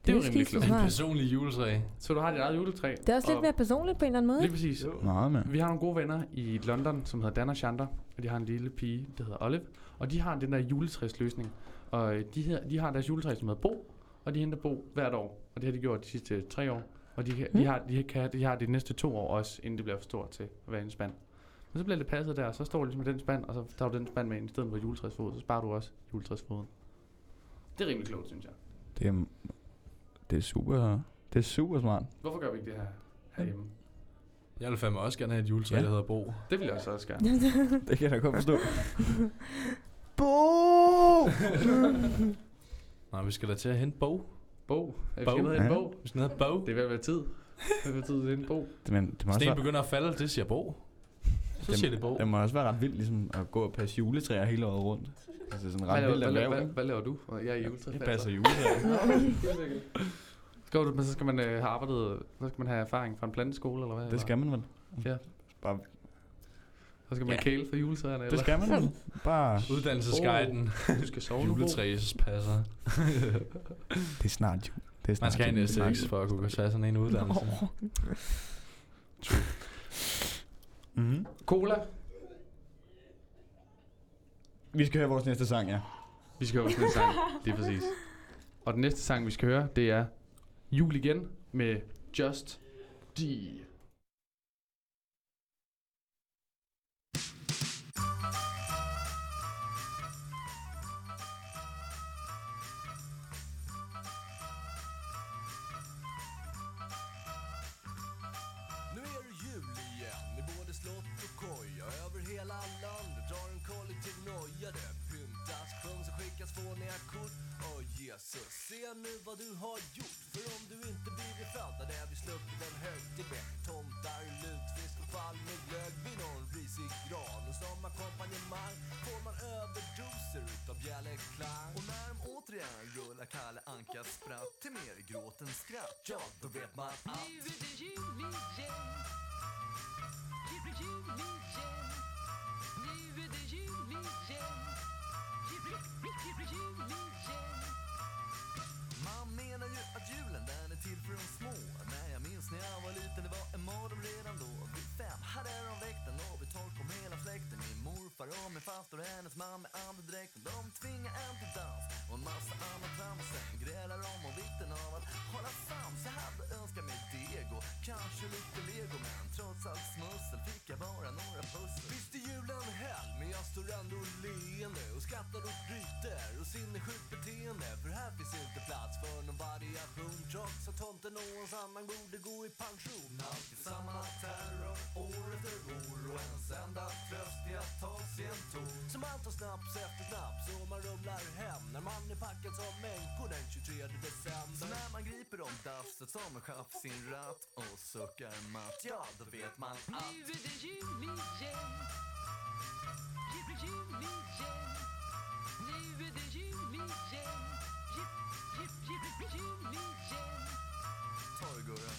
Det er jo
et
rimelig
skide
klogt.
smart.
Personlig juletræ.
Så du har dit eget juletræ.
Det er også lidt
og-
mere personligt på en eller anden måde.
Lige
ikke?
præcis.
Meget med.
Vi har nogle gode venner i London, som hedder Dan og Chandra, og de har en lille pige, der hedder Olive, og de har den der juletræsløsning. Og øh, de, her, de har deres juletræ, som hedder Bo, og de henter Bo hvert år, og det har de gjort de sidste tre år. Og de, kan- de,
Mm.
har, de, kan, de har det de næste to år også, inden det bliver for stort til at være i en spand. Men så bliver det passet der, og så står det ligesom i den spand, og så tager du den spand med ind i stedet for juletræsfoden, så sparer du også juletræsfoden. Det er rimelig klogt, synes jeg.
Det er, det er super... Det er super smart.
Hvorfor gør vi ikke det her herhjemme?
Jeg vil fandme også gerne have et juletræ,
Ja.
ja. der hedder Bo.
Det vil jeg også gerne.
det kan jeg da godt forstå.
Bo!
Nej, vi skal da til at hente Bo.
Bo? Ja, vi
Bo.
skal ned i en
Ja.
bog.
Vi skal ned i Bo.
Det er ved at være tid. Det er ved at være tid til en bog.
Det, men, det må også
Sten
være,
begynder at falde, det siger Bo. Så siger det Bo.
det må også være ret vildt ligesom, at gå og passe juletræer hele året rundt. Altså, det er sådan ret
hvad,
vildt
laver,
at
hvad,
lave.
hvad, hvad, laver du? Og Jeg er juletræ.
Jeg passer juletræer.
Skal du, men så skal man øh, have arbejdet, så skal man have erfaring fra en planteskole, eller hvad?
Det skal man vel.
Ja.
Bare...
Så skal man
Ja.
kæle for juletræerne,
Det
eller?
skal man vel. Bare...
Uddannelsesguiden.
Du skal sove nu, Bo.
Juletræs passer.
Det er snart jul. Det er snart
Man skal have en
jul. Det er
STX
snart
for at kunne tage sådan en uddannelse.
jul. Mhm.
Cola.
Vi skal høre vores næste sang, ja.
Vi skal høre vores næste sang. Det er præcis. Og den næste sang, vi skal høre, det er Jul igen med Just D.
Nu är det jul igen i både slott og koja Över hela landet drar en kollektiv noja Det pyntas, sjungs och skickas fåniga kort Åh Jesus, se nu vad du har gjort För om du inte blivit fladdad är vi sluppit en högtid med Tomtar, lutfisk och palmeglögg vid någon risig gran Och som ackompanjemang får man överdoser utav bjällerklang Och när de återigen rullar Kalle Ankas spratt till mer gråt än skratt Ja, då vet man att Nu är det jul igen Man menar ju att julen den är till för de små När jag minns när jag var liten det var en mardröm redan då Vid fem hade de väckt en och vi tolk om hela släkten Min morfar och min faster och hennes man med andedräkten De tvingar en till dans och en massa annat trams Sen grälar de om vikten av att hålla sams Jag hade önskat mig deg och kanske lite lego Men trots allt smussel fick jag bara några pussel Visst är julen hell men jag står ändå leende och skrattar och bryter och sinnessjukt beteende För här finns inte plats för någon variation Trots att tomten och hans annan borde gå i pension Alltid samma terror år efter år och ens enda tröst är att ta sig en ton Som man tar snaps efter snaps och man rumlar hem När man är packad som människor den 23 december Så när man griper om dafset som en chef sin ratt och suckar matt Ja, då vet man att Nu är det jul igen Ta det Gurra.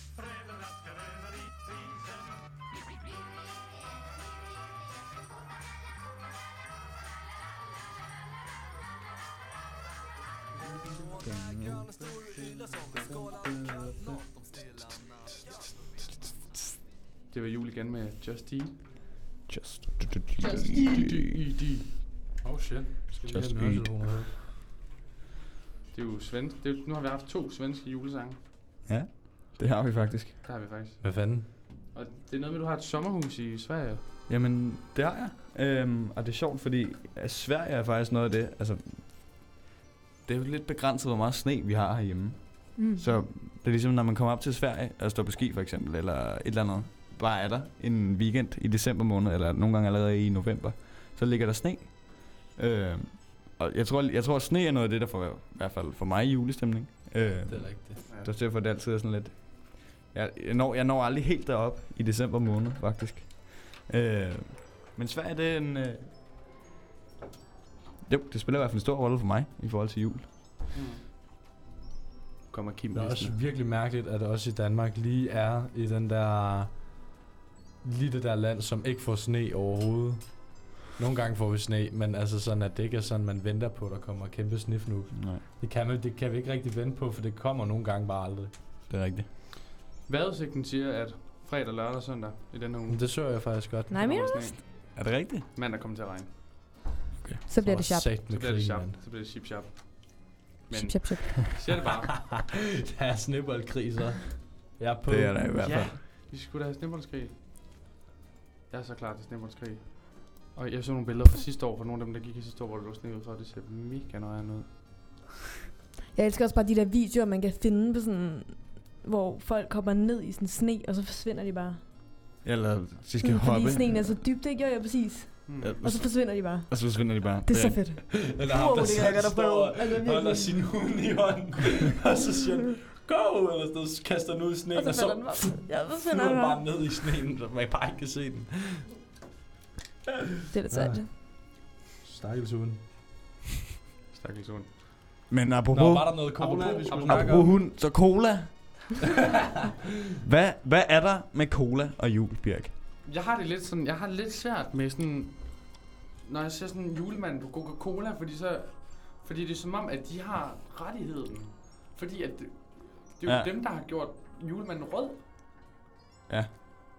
Det var jul igen med Just D.
Just
D.
Oh shit. Jeg Skal lige have
Just
en
eat.
høretelefoner med.
Det er jo svensk. Det er, jo- nu har vi haft to svenske julesange.
Ja, det har vi faktisk.
Der har vi faktisk.
Hvad fanden?
Og det er noget med, at du har et sommerhus i Sverige.
Jamen, det har jeg. Øhm, og det er sjovt, fordi øh, Sverige er faktisk noget af det, altså... Det er jo lidt begrænset, hvor meget sne vi har herhjemme.
Mm.
Så det er ligesom, når man kommer op til Sverige og står på ski for eksempel, eller et eller andet, bare er der en weekend i december måned, eller nogle gange allerede i november, så ligger der sne. Øhm, og jeg tror, jeg tror, sne er noget af det, der får i hvert fald for mig julestemning. Øhm, det
er rigtigt.
Det er derfor, det altid er sådan lidt... Jeg, jeg, når, jeg når aldrig helt derop i december måned, faktisk. Øh, men Sverige, det er en... Øh, jo, det spiller i hvert fald en stor rolle for mig i forhold til jul.
Mm. Kommer Kim
Det er også virkelig mærkeligt, at også i Danmark lige er i den der... Lige det der land, som ikke får sne overhovedet. Nogle gange får vi sne, men altså sådan, at det ikke er sådan, man venter på, at der kommer kæmpe snif nu.
Nej.
Det kan, man, det kan vi ikke rigtig vente på, for det kommer nogle gange bare aldrig.
Det er rigtigt.
Vejrudsigten siger, at fredag, lørdag og søndag i denne uge.
Det så jeg faktisk godt.
Nej, mener du det?
Er det rigtigt?
Mandag kommer til at regne.
Så bliver det sharp.
sat med
Så bliver det
krigen,
sharp.
mand.
Så bliver det chip sharp.
Chip, chip, chip.
Siger det bare.
der er sneboldkrig, så. Jeg er på.
Det er der i hvert
Ja,
fald.
vi skulle da have snibboldskrig. Jeg er så klar til snibboldskrig. Og jeg så nogle billeder fra sidste år, fra nogle af dem, der gik i sidste år, hvor det lå sne ud, så det ser mega nøjeren ud.
Jeg elsker også bare de der videoer, man kan finde på sådan, hvor folk kommer ned i sådan sne, og så forsvinder de bare.
Eller de skal
Mm,
hoppe.
Fordi sneen er så dybt, ikke? Jo, ja, præcis.
Mm.
Og så forsvinder de bare.
Og så forsvinder de bare.
Det er så fedt.
Eller ham,
Wow,
der
det kan
sådan
jeg godt
står
opleve.
og
Altså, virkelig.
holder sin hund i hånden, og så siger han, go, eller sådan noget, så kaster den ud i sneen,
Og
og
så
så,
falder den bare. Ja, så
flyver
falder den
den bare
bare.
ned i sneen, så man bare ikke kan se den.
Det er lidt sejt.
Ja. Stakkels hund.
Stakkels hund.
Men apropos,
Nå, var der noget cola, vi skulle snakke
apropos
om?
hund, så cola. hvad, hvad er der med cola og jul, Birk?
Jeg har det lidt sådan, jeg har det lidt svært med sådan, når jeg ser sådan en julemand på Coca-Cola, fordi så, fordi det er som om, at de har rettigheden. Fordi at, det, det er jo
Ja.
ja. dem, der har gjort julemanden rød.
Ja.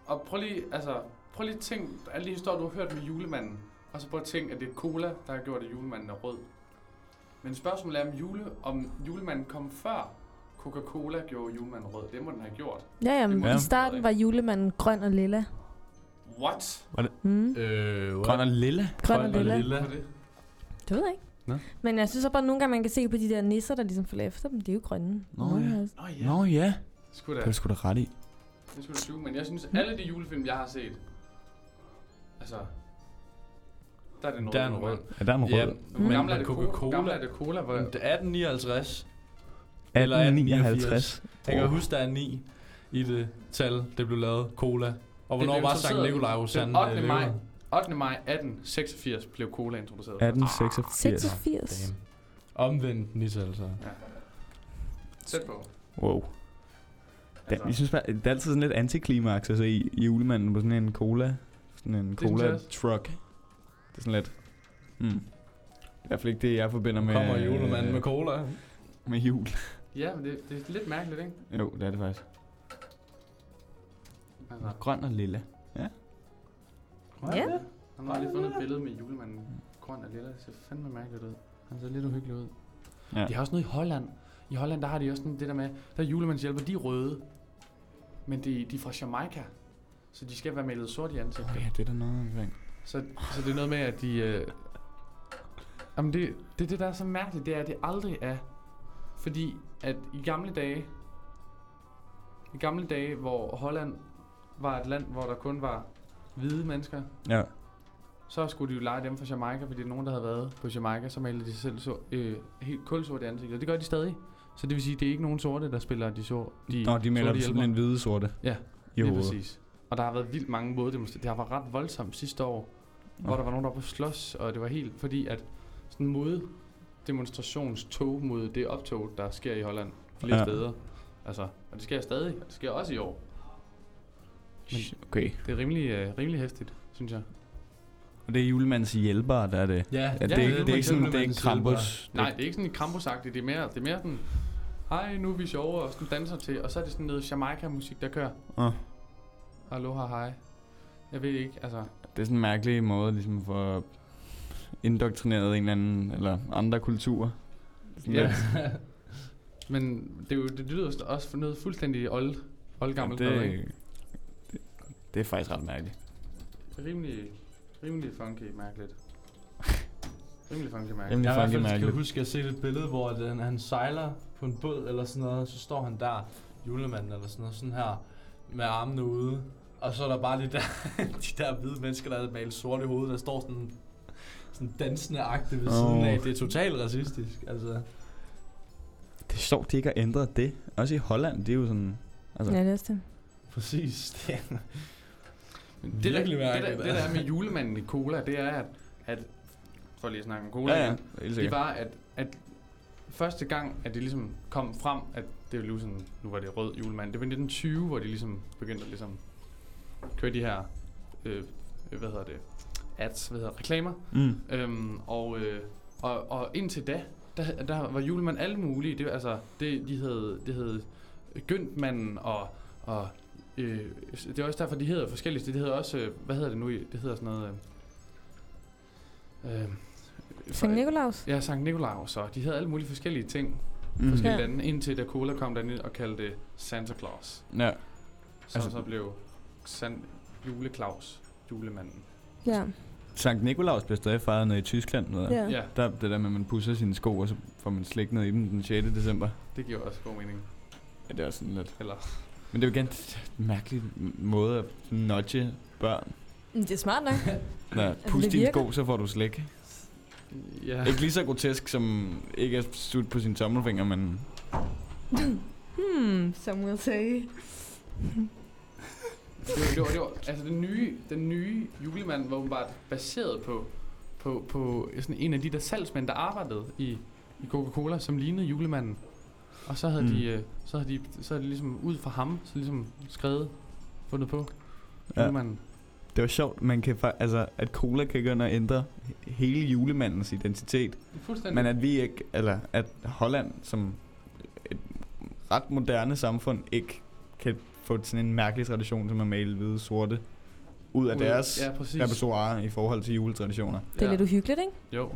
Og prøv lige, altså, prøv lige at tænk, alle de historier, du har hørt med julemanden, og så prøv at tænke, at det er cola, der har gjort, at julemanden er rød. Men spørgsmålet er, om, jule, om julemanden kom før Coca-Cola gjorde julemanden rød. Det må den have gjort.
Ja,
Det
jamen,
må den
ja. i
have gjort,
starten var julemanden grøn og lilla.
ikke? What?
Var det?
Mm.
Øh,
Grøn og lilla?
Grøn og Grøn og lilla. lilla.
Hvad er det?
Det ved jeg ikke.
Nå.
Men jeg synes så bare, at nogle gange man kan se på de der nisser, der ligesom følger efter dem. De er jo grønne. altså.
Nå,
Nogle
ja.
af os.
Nå ja.
Nå ja.
Sgu da.
Det er du sgu da ret i.
Det skulle du sige, men jeg synes, alle de julefilm, jeg har set, altså, der er det en rød.
Der er en rød.
mand.
Ja, der er en rød.
Ja,
Hvor
men
gammel er det
Coca-Cola?
Coca-Cola? Gammel er det cola? Hvor...
Men det er 1859.
1859.
Jeg kan huske, der er 9 i det tal, det blev lavet. Cola. Og hvornår
blev
var Sankt
introduceret
Nikolaj øh, jo
Den
sand?
8. maj, 8. maj 1886 blev cola introduceret.
1886.
86.
Ah, Damn. Omvendt nisse, altså.
Ja. Tæt på.
Wow. Da,
Altså.
jeg synes bare, det er altid sådan lidt antiklimaks at se julemanden på sådan en cola. Sådan en
synes jeg
cola
også.
truck. Det er sådan lidt... Mm. Det er i hvert fald ikke det, jeg forbinder med... øh,
Kommer julemanden med cola.
Med jul.
Ja, men det, det er lidt mærkeligt, ikke?
Jo, det er det faktisk.
Altså,
Grøn og lilla. Ja.
Ja.
Han har lige fundet et billede med julemanden. Grøn og lilla, det ser fandme mærkeligt ud. Han ser lidt uhyggelig ud.
Ja.
Ja. De har også noget i Holland. I Holland, der har de også sådan det der med, der er julemandshjælper, de er røde. Men de, de er fra Jamaica. Så de skal være malet sort i ansigtet.
Ja, det er der noget omkring.
Så, så det er noget med, at de... Øh... Jamen, det, det, det, der er så mærkeligt, det er, at det aldrig er... Fordi at i gamle dage... I gamle dage, hvor Holland var et land, hvor der kun var hvide mennesker,
Ja.
så skulle de jo lege dem fra Jamaica, fordi nogen, der havde været på Jamaica, så malede de sig selv så, øh, helt kulsort i ansigtet. Og det gør de stadig. Så det vil sige, at det er ikke nogen sorte, der spiller de så. De
Nå, de
sorte
melder sådan
hjælpere.
en hvide sorte.
Ja,
i
lige
hovedet.
præcis. Og der har været vildt mange moddemonstrationer. Det har været ret voldsomt sidste år, Nå. hvor der var nogen, der var på slås, og det var helt fordi, at sådan mod demonstrationstog mod det optog, der sker i Holland flere
Ja.
ja. steder. Altså, og det sker stadig, og det sker også i år. Men
Okay.
det er rimelig, øh, rimelig hæftigt, synes jeg.
Og det er julemandens hjælpere, der er det. det, det, er ikke- det er ikke sådan, det er ikke Krampus.
Nej, det er ikke sådan en krampus det er mere, det er mere sådan, hej, nu er vi sjove, og sådan danser til, og så er det sådan noget Jamaica-musik, der kører.
Åh.
Aloha, hej. Jeg ved ikke, altså...
Det er sådan en mærkelig måde ligesom at få indoktrineret en eller anden, eller andre kulturer. Sådan
Ja.
lidt-
Men det, er jo, det, det lyder også- også for noget fuldstændig old, oldgammelt.
Ja,
noget,
det,
ikke?
det, det er faktisk ret mærkeligt.
Rimelig, rimelig funky mærkeligt. rimelig funky
Rimelig funky
Jeg
mærkeligt.
kan i hvert fald
mærkeligt.
kan huske, at jeg set et billede, hvor den, han sejler på en båd eller sådan noget, så står han der, julemanden eller sådan noget, sådan her, med armene ude. Og så er der bare de der, de der hvide mennesker, der er malet sort i hovedet, der står sådan, sådan dansende agte ved oh. siden
Åh.
af. Det er totalt racistisk, altså.
Det er sjovt, de ikke har ændret det. Også i Holland, det er jo sådan... Altså,
Ja, det er også det.
Præcis. Det er
Det, der, det,
virkelig
der,
mærkeligt,
det der er
altså.
med julemanden i cola, det er, at, at for lige at snakke om cola,
Ja, ja,
igen,
helt sikkert.
det var, at, at første gang, at det ligesom kom frem, at det var ligesom, nu var det rød julemand, det var i 1920, hvor de ligesom begyndte at ligesom køre de her, øh, hvad hedder det, ads, hvad hedder, reklamer.
Mm.
Øhm, og, øh, og, og indtil da, der, der var julemand alle mulige. Det, var altså, det, de hed, det hed Gyntmanden og, og øh, det er også derfor, de hedder forskellige. Det hedder også, øh, hvad hedder det nu? i- Det hedder sådan noget... Øh, øh,
Sankt Nikolaus?
Ja, Sankt Nikolaus, og de havde alle mulige forskellige ting.
Mm.
Mm. Forskellige
Ja.
lande, indtil da Cola kom derned og kaldte det Santa Claus.
Ja.
Så, altså, så blev San Juleklaus julemanden.
Ja.
Sankt Nikolaus bliver stadig fejret nede i Tyskland. Ved jeg.
Ja. Ja.
Der, er det der med, at man pusser sine sko, og så får man slik ned i dem den 6. december.
Det giver også god mening.
Ja, det er sådan lidt.
Eller...
Men det er jo igen en mærkelig måde at nudge børn.
Men det er smart nok.
Når
Altså,
pus
det
dine
virker.
sko, så får du slik.
Ja.
Ikke lige så grotesk, som ikke at sutte på sine tommelfinger, men
hmm, some will say.
Det var, det var, det var, altså den nye, den nye julemand var åbenbart baseret på, på, på øh, sådan en af de der salgsmænd, der arbejdede i, i Coca-Cola, som lignede julemanden. Og så havde,
Mm.
mm. de, øh, så havde de, så havde de ligesom ud fra ham, så ligesom skrevet, fundet på
Ja.
julemanden.
Det var sjovt, man kan, fa- altså, at cola kan gå ind og ændre hele julemandens identitet.
Fuldstændig.
Men at vi ikke, eller at Holland som et ret moderne samfund ikke kan få sådan en mærkelig tradition, som at male hvide sorte ud af
Ud af-
deres
ja, præcis.
repertoire i forhold til juletraditioner.
Det er lidt uhyggeligt, ikke?
Jo.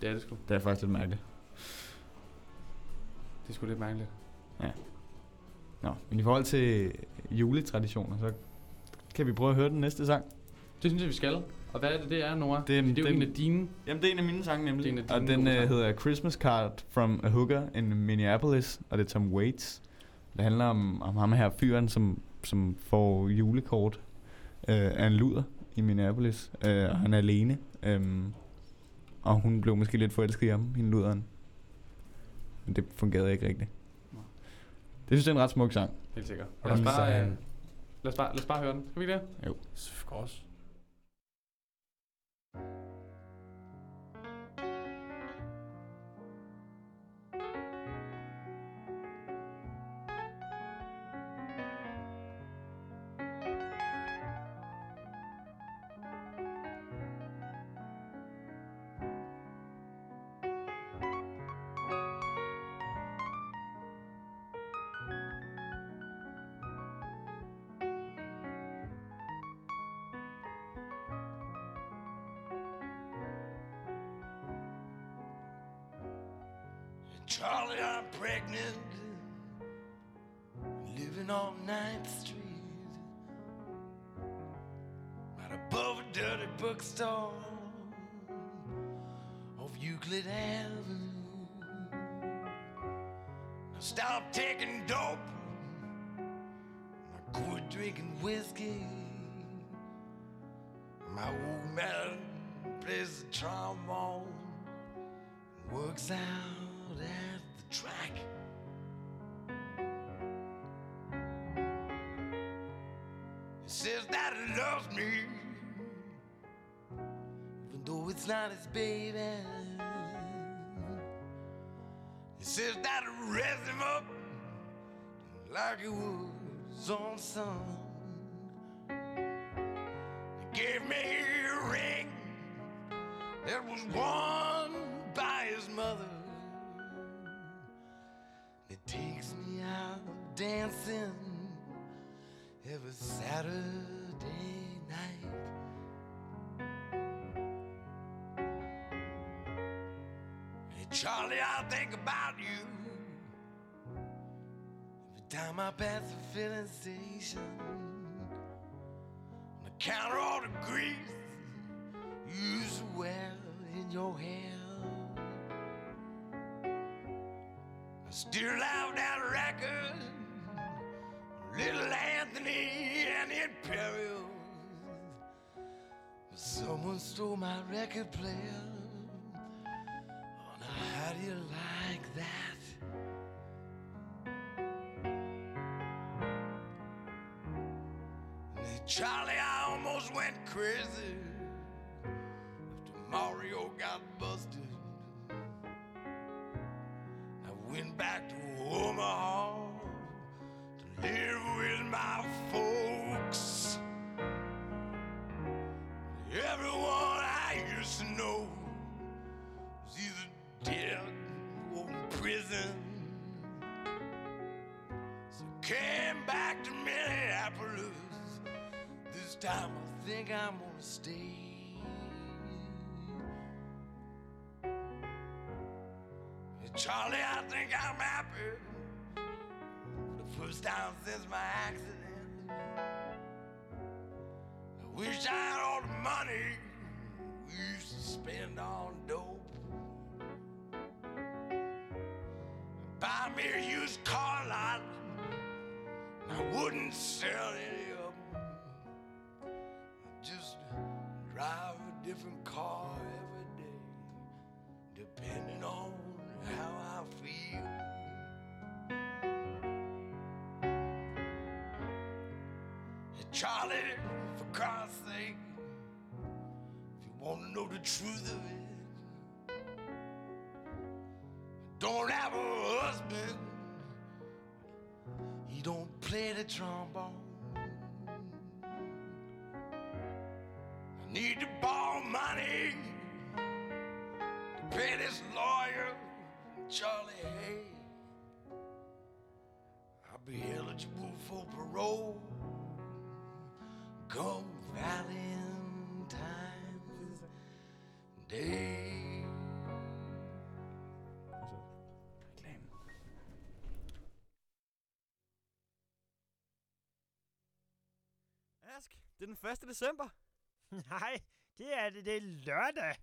Det er det sgu.
Det er faktisk lidt mærkeligt.
Det er sgu lidt mærkeligt.
Ja. Nå, men i forhold til juletraditioner, så kan vi prøve at høre den næste sang.
Det synes jeg, vi skal. Og hvad er det, det er, Nora?
Det,
det er jo
det-
en af dine.
Jamen, det er en af mine sange, nemlig.
Det er en af dine
Og den
gode
øh,
sange.
hedder Christmas Card from a Hooker in Minneapolis, og det er Tom Waits. Det handler om, om ham her fyren, som, som får julekort øh, af en luder i Minneapolis, øh, og han er alene. Øh, og hun blev måske lidt forelsket i ham, hende luderen. Men det fungerede ikke rigtigt. Det synes jeg er en ret smuk sang.
Helt sikkert.
Og
Lad os
den
bare,
sang-
øh, lad os bare, lad os bare høre den. Skal vi ikke det?
Jo.
Of course.
Charlie, I'm pregnant, living on 9th Street. Right above a dirty bookstore off Euclid Avenue. I stopped taking dope, and I quit drinking whiskey. My old man plays the trombone, works out at the track. He says that he loves me, even though it's not his baby. He says that he raised him up like he was his own son. He gave me a ring that was worn by his mother. It takes me out dancing every Saturday night. Hey, Charlie, I think about you every time I pass the filling station. On the counter, all the grease use well in your hair. I still have that record, Little Anthony and the Imperials. But Someone stole my record player. Oh, now how do you like that? Hey, Charlie, I almost went crazy. Mario got busted. I went back to Omaha to live with my folks. Everyone Came back to Minneapolis. This time I think I'm gonna stay. Charlie, I think I'm happy. The first time since my accident. I wish I had all the money we used to spend on dope. Buy me a used car lot. and I wouldn't sell any of them. Just drive a different car every day, depending on how I feel. Charlie, for God's sake, if you want to know the truth of it, don't have a husband. He don't play the trombone. I need to borrow money to pay this lawyer, Charlie Hay. I'll be eligible for parole. Come Valentine's Day.
Ask, det er den 1. december.
Nej, det er det. Det er lørdag.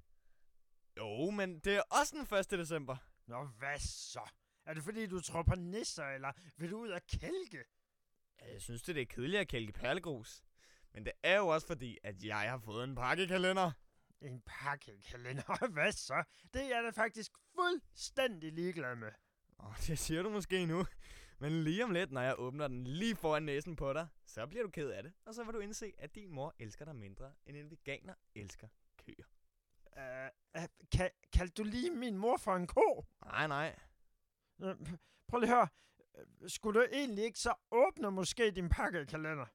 Jo, men det er også den 1. december.
Nå, hvad så? Er det fordi, du tror på nisser, eller vil du ud og kælke?
øh,
Ja, Jeg synes, det er kedeligt at kælke perlegrus. Men det er jo også fordi, at jeg har fået en pakkekalender.
En pakkekalender? Hvad så? Det er jeg da faktisk fuldstændig ligeglad med.
Åh, det siger du måske nu. Men lige om lidt, når jeg åbner den lige foran næsen på dig, så bliver du ked af det. Og så vil du indse, at din mor elsker dig mindre, end en veganer elsker køer.
Uh, uh, kal- kaldte du lige min mor for en ko?
Nej, nej.
Uh, prøv lige at høre. Øh, Skulle du egentlig ikke så åbne måske din pakkekalender?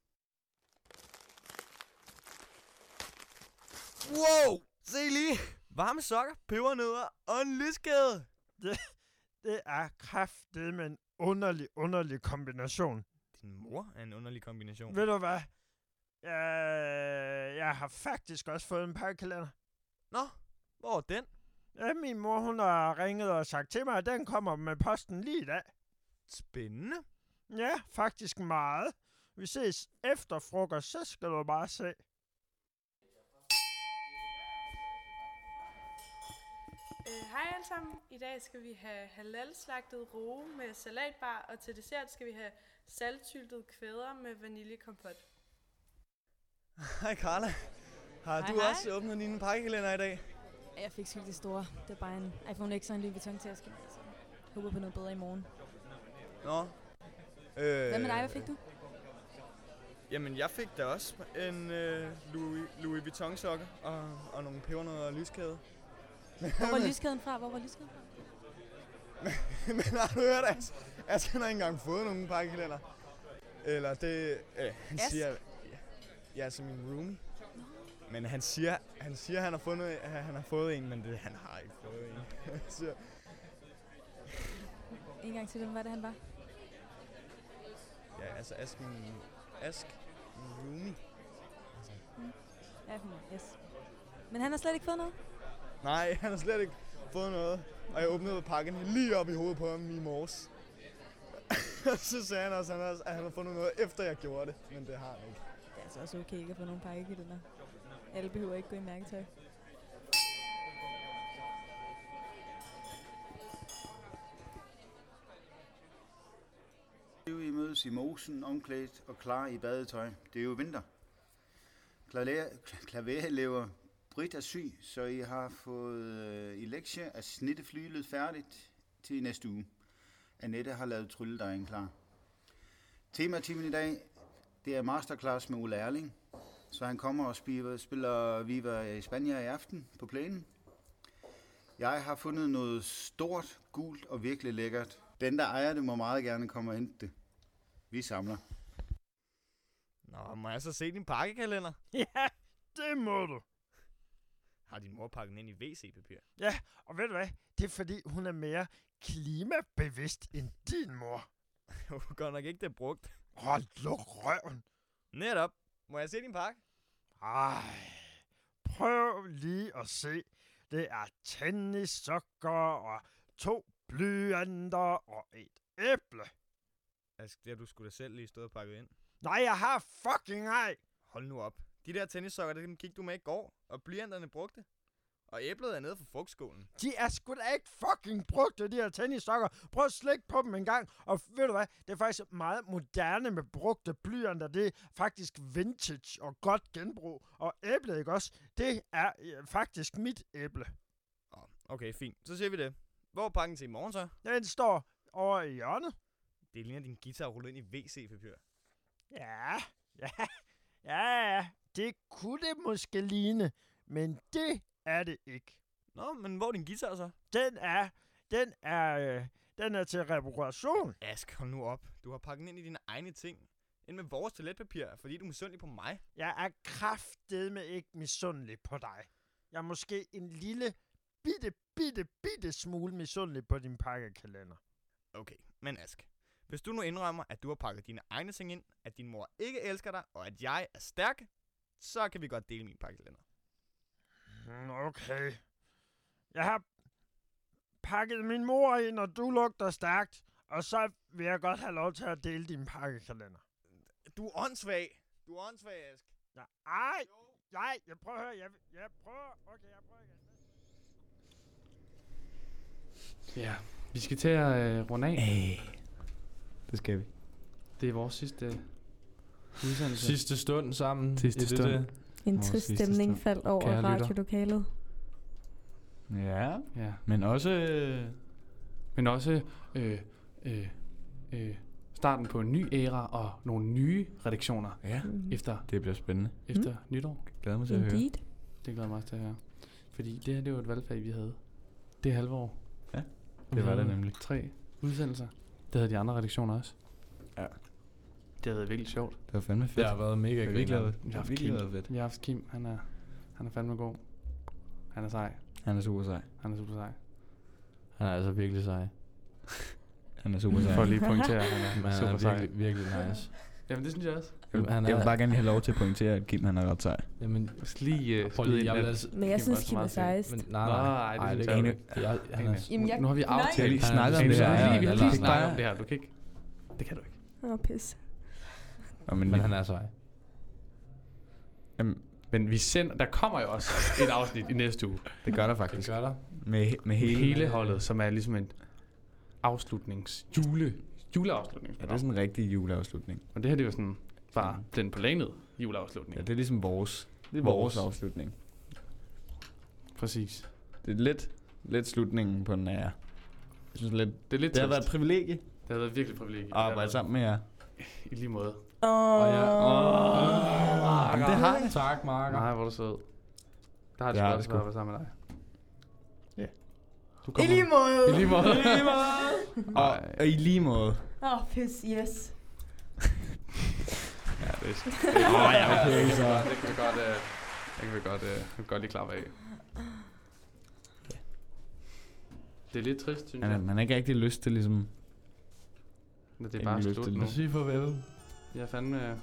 Wow! Se lige! Varme sokker, pebernødder og en lyskæde.
Det, det er kraftedeme en underlig, underlig kombination.
Din mor er en underlig kombination.
Ved du hvad? Jeg, jeg har faktisk også fået en pakkekalender.
Nå, hvor er den?
Ja, min mor hun har ringet og sagt til mig, at den kommer med posten lige i dag.
Spændende.
Ja, faktisk meget. Vi ses efter frokost, så skal du bare se.
Øh, Hej alle sammen. I dag skal vi have halal-slagtet roe med salatbar, og til dessert skal vi have saltsyltet kvæder med vaniljekompot.
Hej Carla. Har
Hej,
du
hej.
også åbnet din pakkekalender i dag?
Jeg fik sgu ikke det store. Det var bare en iPhone X og en Louis Vuitton-taske. Altså, jeg håber på noget bedre i morgen.
Nå. Øh,
Hvad med dig? Hvad fik du?
Jamen, jeg fik da også en øh, Louis, Louis Vuitton sokker og, og nogle pebernødder og lyskæde.
Hvor var lyskæden fra? Hvor var lyskæden fra?
Men har du hørt, at Ask han har ikke engang fået nogen pakkekalender? Eller det... Øh, han
Ask?
siger... Ja, ja, som min roomie. Men han siger, han siger, han har fundet, at han har fået en, men det, han har ikke fået en. så,
En gang til, hvem var det, han var?
ja, altså Ask min, Ask min roomie.
Mm. Ja, hun- yes. Men han har slet ikke fået noget?
Nej, han har slet ikke fået noget. Og jeg åbnede pakken lige op i hovedet på ham i morges. så sagde han også, at han, havde- at han havde fundet noget, efter jeg gjorde det. Men det har han ikke.
Det er altså også okay ikke at få nogle pakkekalender. Alle behøver ikke gå i mærketøj.
Det er jo i mødes i mosen, omklædt og klar i badetøj. Det er jo vinter. Klaver, klaverelever Britt er syg, så I har fået øh, i lektie at snitte flylet færdigt til i næste uge. Annette har lavet trylledejen klar. Tematimen i dag, det er masterclass med Ole Erling. Så han kommer og spiller, spiller Viva i Spanien i aften på plænen. Jeg har fundet noget stort, gult og virkelig lækkert. Den, der ejer det, må meget gerne komme og hente det. Vi samler.
Nå, må jeg så se din pakkekalender?
Ja, det må du.
Har din mor pakket den ind i WC-papir?
Ja, og ved du hvad? Det er fordi, hun er mere klimabevidst end din mor.
jo, godt nok ikke det er brugt.
Hold nu røven.
Netop. Må jeg se din pakke?
Ej, prøv lige at se. Det er tennissokker og to blyanter og et æble.
Altså, det har du skulle da selv lige stået og pakket ind.
Nej, jeg har fucking ej.
Hold nu op. De der tennissokker, det gik du med i går, og blyanterne brugte. Og æblet er nede fra frugtskolen.
De er sgu da ikke fucking brugte, de her tennissokker. Prøv at slikke på dem en gang. Og ved du hvad, det er faktisk meget moderne med brugte blyanter. Det er faktisk vintage og godt genbrug. Og æblet, ikke også? Det er øh, faktisk mit æble.
Okay, fint. Så ser vi det. Hvor er pakken til i morgen så?
Den står over i hjørnet.
Det ligner din guitar rullet ind i WC-papir.
Ja, ja, ja, ja. Det kunne det måske ligne, men det er det ikke.
Nå, men hvor er din guitar så?
Den er, den er, øh, den er til reparation.
Ask, hold nu op. Du har pakket den ind i dine egne ting. Ind med vores toiletpapir, fordi du er misundelig på mig.
Jeg er kraftedme ikke misundelig på dig. Jeg er måske en lille, bitte, bitte, bitte smule misundelig på din pakkekalender.
Okay, men Ask. Hvis du nu indrømmer, at du har pakket dine egne ting ind, at din mor ikke elsker dig, og at jeg er stærk, så kan vi godt dele min pakkekalender.
Mm, Okay. Jeg har pakket min mor ind, og du lugter stærkt. Og så vil jeg godt have lov til at dele din pakkekalender.
Du er åndssvag. Du er åndssvag, Ask.
Ja, ej, nej, jeg prøver at høre, jeg, jeg prøver, okay, jeg prøver igen.
Ja, vi skal til at øh, runde af. Hey.
Det skal vi.
Det er vores sidste udsendelse.
Sidste stund sammen.
Sidste
Er det
stund.
det?
En trist stemning faldt over
Kære lytter.
radiolokalet.
Ja.
ja.
Men også... Øh,
Men også øh, øh, øh, starten på en ny æra og nogle nye redaktioner.
Ja.
Efter,
det bliver spændende.
efter mm. nytår.
Glæder mig til at høre. Mm. Indeed.
Det glæder jeg mig også til at høre. Fordi det her, det var et valgfag, vi havde. Det halve år.
Ja,
Vi
det var
havde
det nemlig.
Tre udsendelser. Det havde de andre redaktioner også.
Ja.
Det har været virkelig sjovt.
Det var fandme fedt. Det har virkelig været, det
Vi
har
har
virkelig
haft
været
Kim.
fedt.
Vi har haft Kim. Han er, han er fandme god. Han er sej.
Han er super sej.
Han er super sej.
Han er altså virkelig sej.
Han er super sej.
For lige at pointere, han er
Men han
super
er
sej.
virkelig, virkelig nice.
Jamen det synes jeg også.
Jeg vil,
Han er-
jeg vil bare gerne lige have lov til at pointere, at Kim han er ret sej.
Jamen,
lige uh,
skyde ind, at
Men jeg Kim synes, var så Kim er meget fin. sejest.
Men, nej, nej, nej, nej, det,
synes jeg
det,
ikke.
det, jeg, han er,
Jamen, jeg-
Nu har vi
nej.
aftalt.
Vi snakker om
Anus,
det
vi har
her.
lige- Vi har lige
Lars,
snakket
nej.
om det her. Du kan ikke... Det kan du ikke.
Åh, oh, pis.
Nå, men,
men han er altså sej.
Jamen,
men vi sender... Der kommer jo også et afsnit i næste uge.
Det gør der faktisk.
Det gør der.
Med, med hele...
Hele holdet, som er ligesom en afslutnings... Jule... Juleafslutning.
Ja, det er sådan en rigtig juleafslutning.
Og det her, det var sådan bare den på lanet juleafslutning.
Ja, det er ligesom vores. Det er
Vores.
vores, vores afslutning.
Præcis.
Det er lidt, lidt slutningen på den ære. Jeg synes lidt...
Det er lidt
Det har
trist.
været et privilegie
Det har været virkelig privilegie.
at arbejde sammen med jer.
I lige måde.
Og
jeg...
Åh. Jamen, det har jeg.
Tak, Marker.
Nej, hvor er du sød. Der har
Det har
det
det
sgu
sgu.
godt at være sammen med dig.
Ja.
Du
I
kommer-
lige måde.
I lige måde.
I lige måde.
Og, og i lige måde.
Åh, oh, pis, yes.
Ja, det er
Åh, ja, okay,
det kan vi
så.
godt- Det kan vi godt, øh, det kan vi godt, øh, vi kan godt lige klappe af. Det er lidt trist, synes
Man,
jeg.
er- man har ikke rigtig lyst til ligesom...
Men det er
Ingen
bare
lyst
slut
til
nu.
det.
Sig farvel.
Jeg er fandme... øh,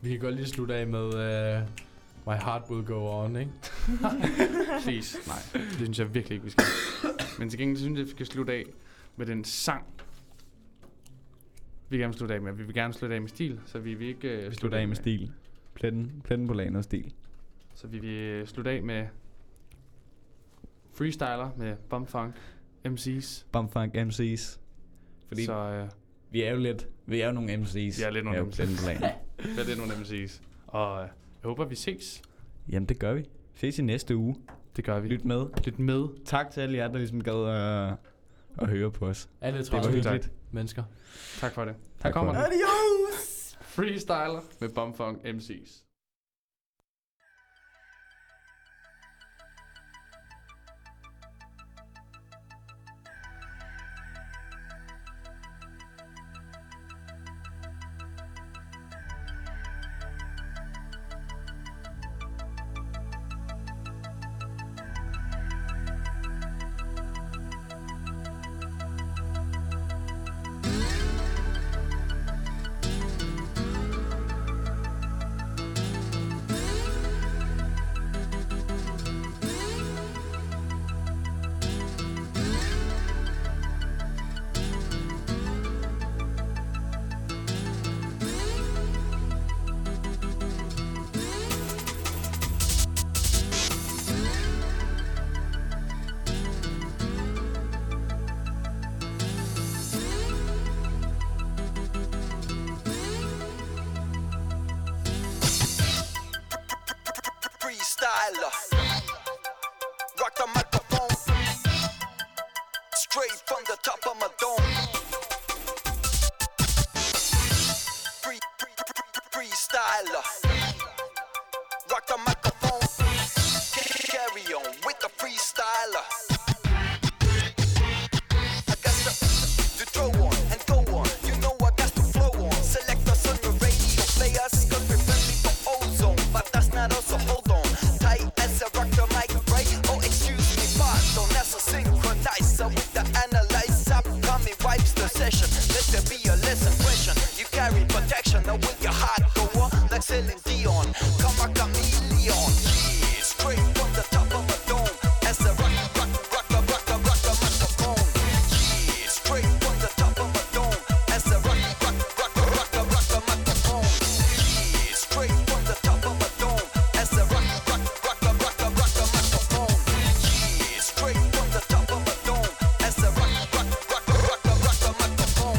Vi kan godt lige slutte af med uh, My Heart Will Go On, ikke?
Please, nej. Det synes jeg virkelig ikke, vi skal. Men til gengæld så synes jeg, vi skal slutte af med den sang. Vi vil gerne slutte af med, vi vil gerne slutte af med stil, så vi vil ikke... øh,
Vi slutter af med stil. Pletten, pletten på lagen og stil.
Så vi vil øh, slutte af med Freestyler med Bum Funk MC's.
Bumfunk MC's. Fordi
Så, øh,
vi er jo lidt... Vi er jo nogle MC's.
Vi er lidt nogle
jo
MC's.
Pletten på lagen.
Vi er lidt nogle MC's. Og øh, jeg håber, vi ses.
Jamen, det gør vi. Ses i næste uge.
Det gør vi.
Lyt med.
Lyt med.
Tak til alle jer, der ligesom gad at, at høre på os.
Alle
det var
30
hyggeligt.
mennesker.
Tak for det.
Tak for
Her kommer
det.
den.
Adios!
Freestyler med Bum Funk MC's.
Thank
attention. Let there be a lesson question. You carry protection, now will your heart go on like Celine Dion? Come a chameleon, yeah, straight from the top of a dome. As the rock, rock, rock, rock, rock, rock, rock, rock, microphone, yeah, straight from the top of a dome. As the rock, rock, rock, rock, rock, rock, rock, rock, microphone, yeah, straight from the top of a dome. As the rock, rock, rock, rock, rock, rock, rock, rock, microphone, yeah, straight from the top of a dome. As the rock, rock, rock, rock, rock, rock, rock, microphone.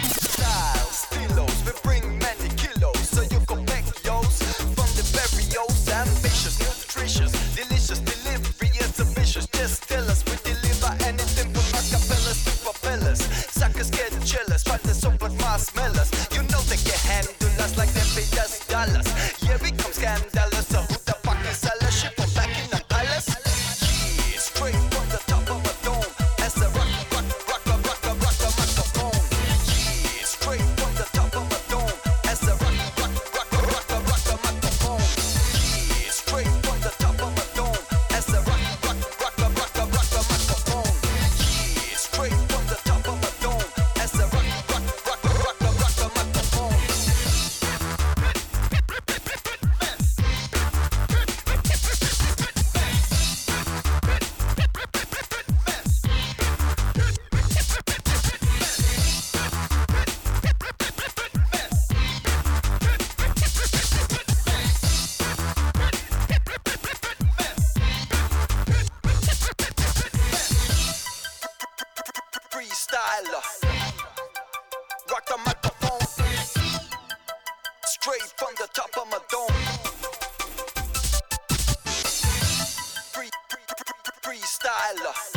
styles, stilos, we bring many kilos, so you can make yours from the barrios, ambitious, nutritious, delicious, delivery is ambitious, just tell us we deliver anything from acapellas to propellers, suckers get jealous, but they're so blood marshmallows, you know they can handle us like they paid us dollars, yeah we come scandalous, so who the fuck is all shit from back in the palace? Yeah, straight from the top of a dome, as the rock, rock, rock, rock, rock, rock, rock, rock, microphone. Yeah, straight from the top of a dome. As the rock, rock, rock, rock, rock, rock, rock, microphone. Yeah, straight from the top of a dome. As the rock, rock, rock, rock, rock, rock, rock, microphone. Yeah, straight from the top of a dome. As the rock, rock, rock, rock, rock, rock, rock, microphone. freestyler. Rock the microphone. Straight from the top of my dome. Free, free, free, freestyler.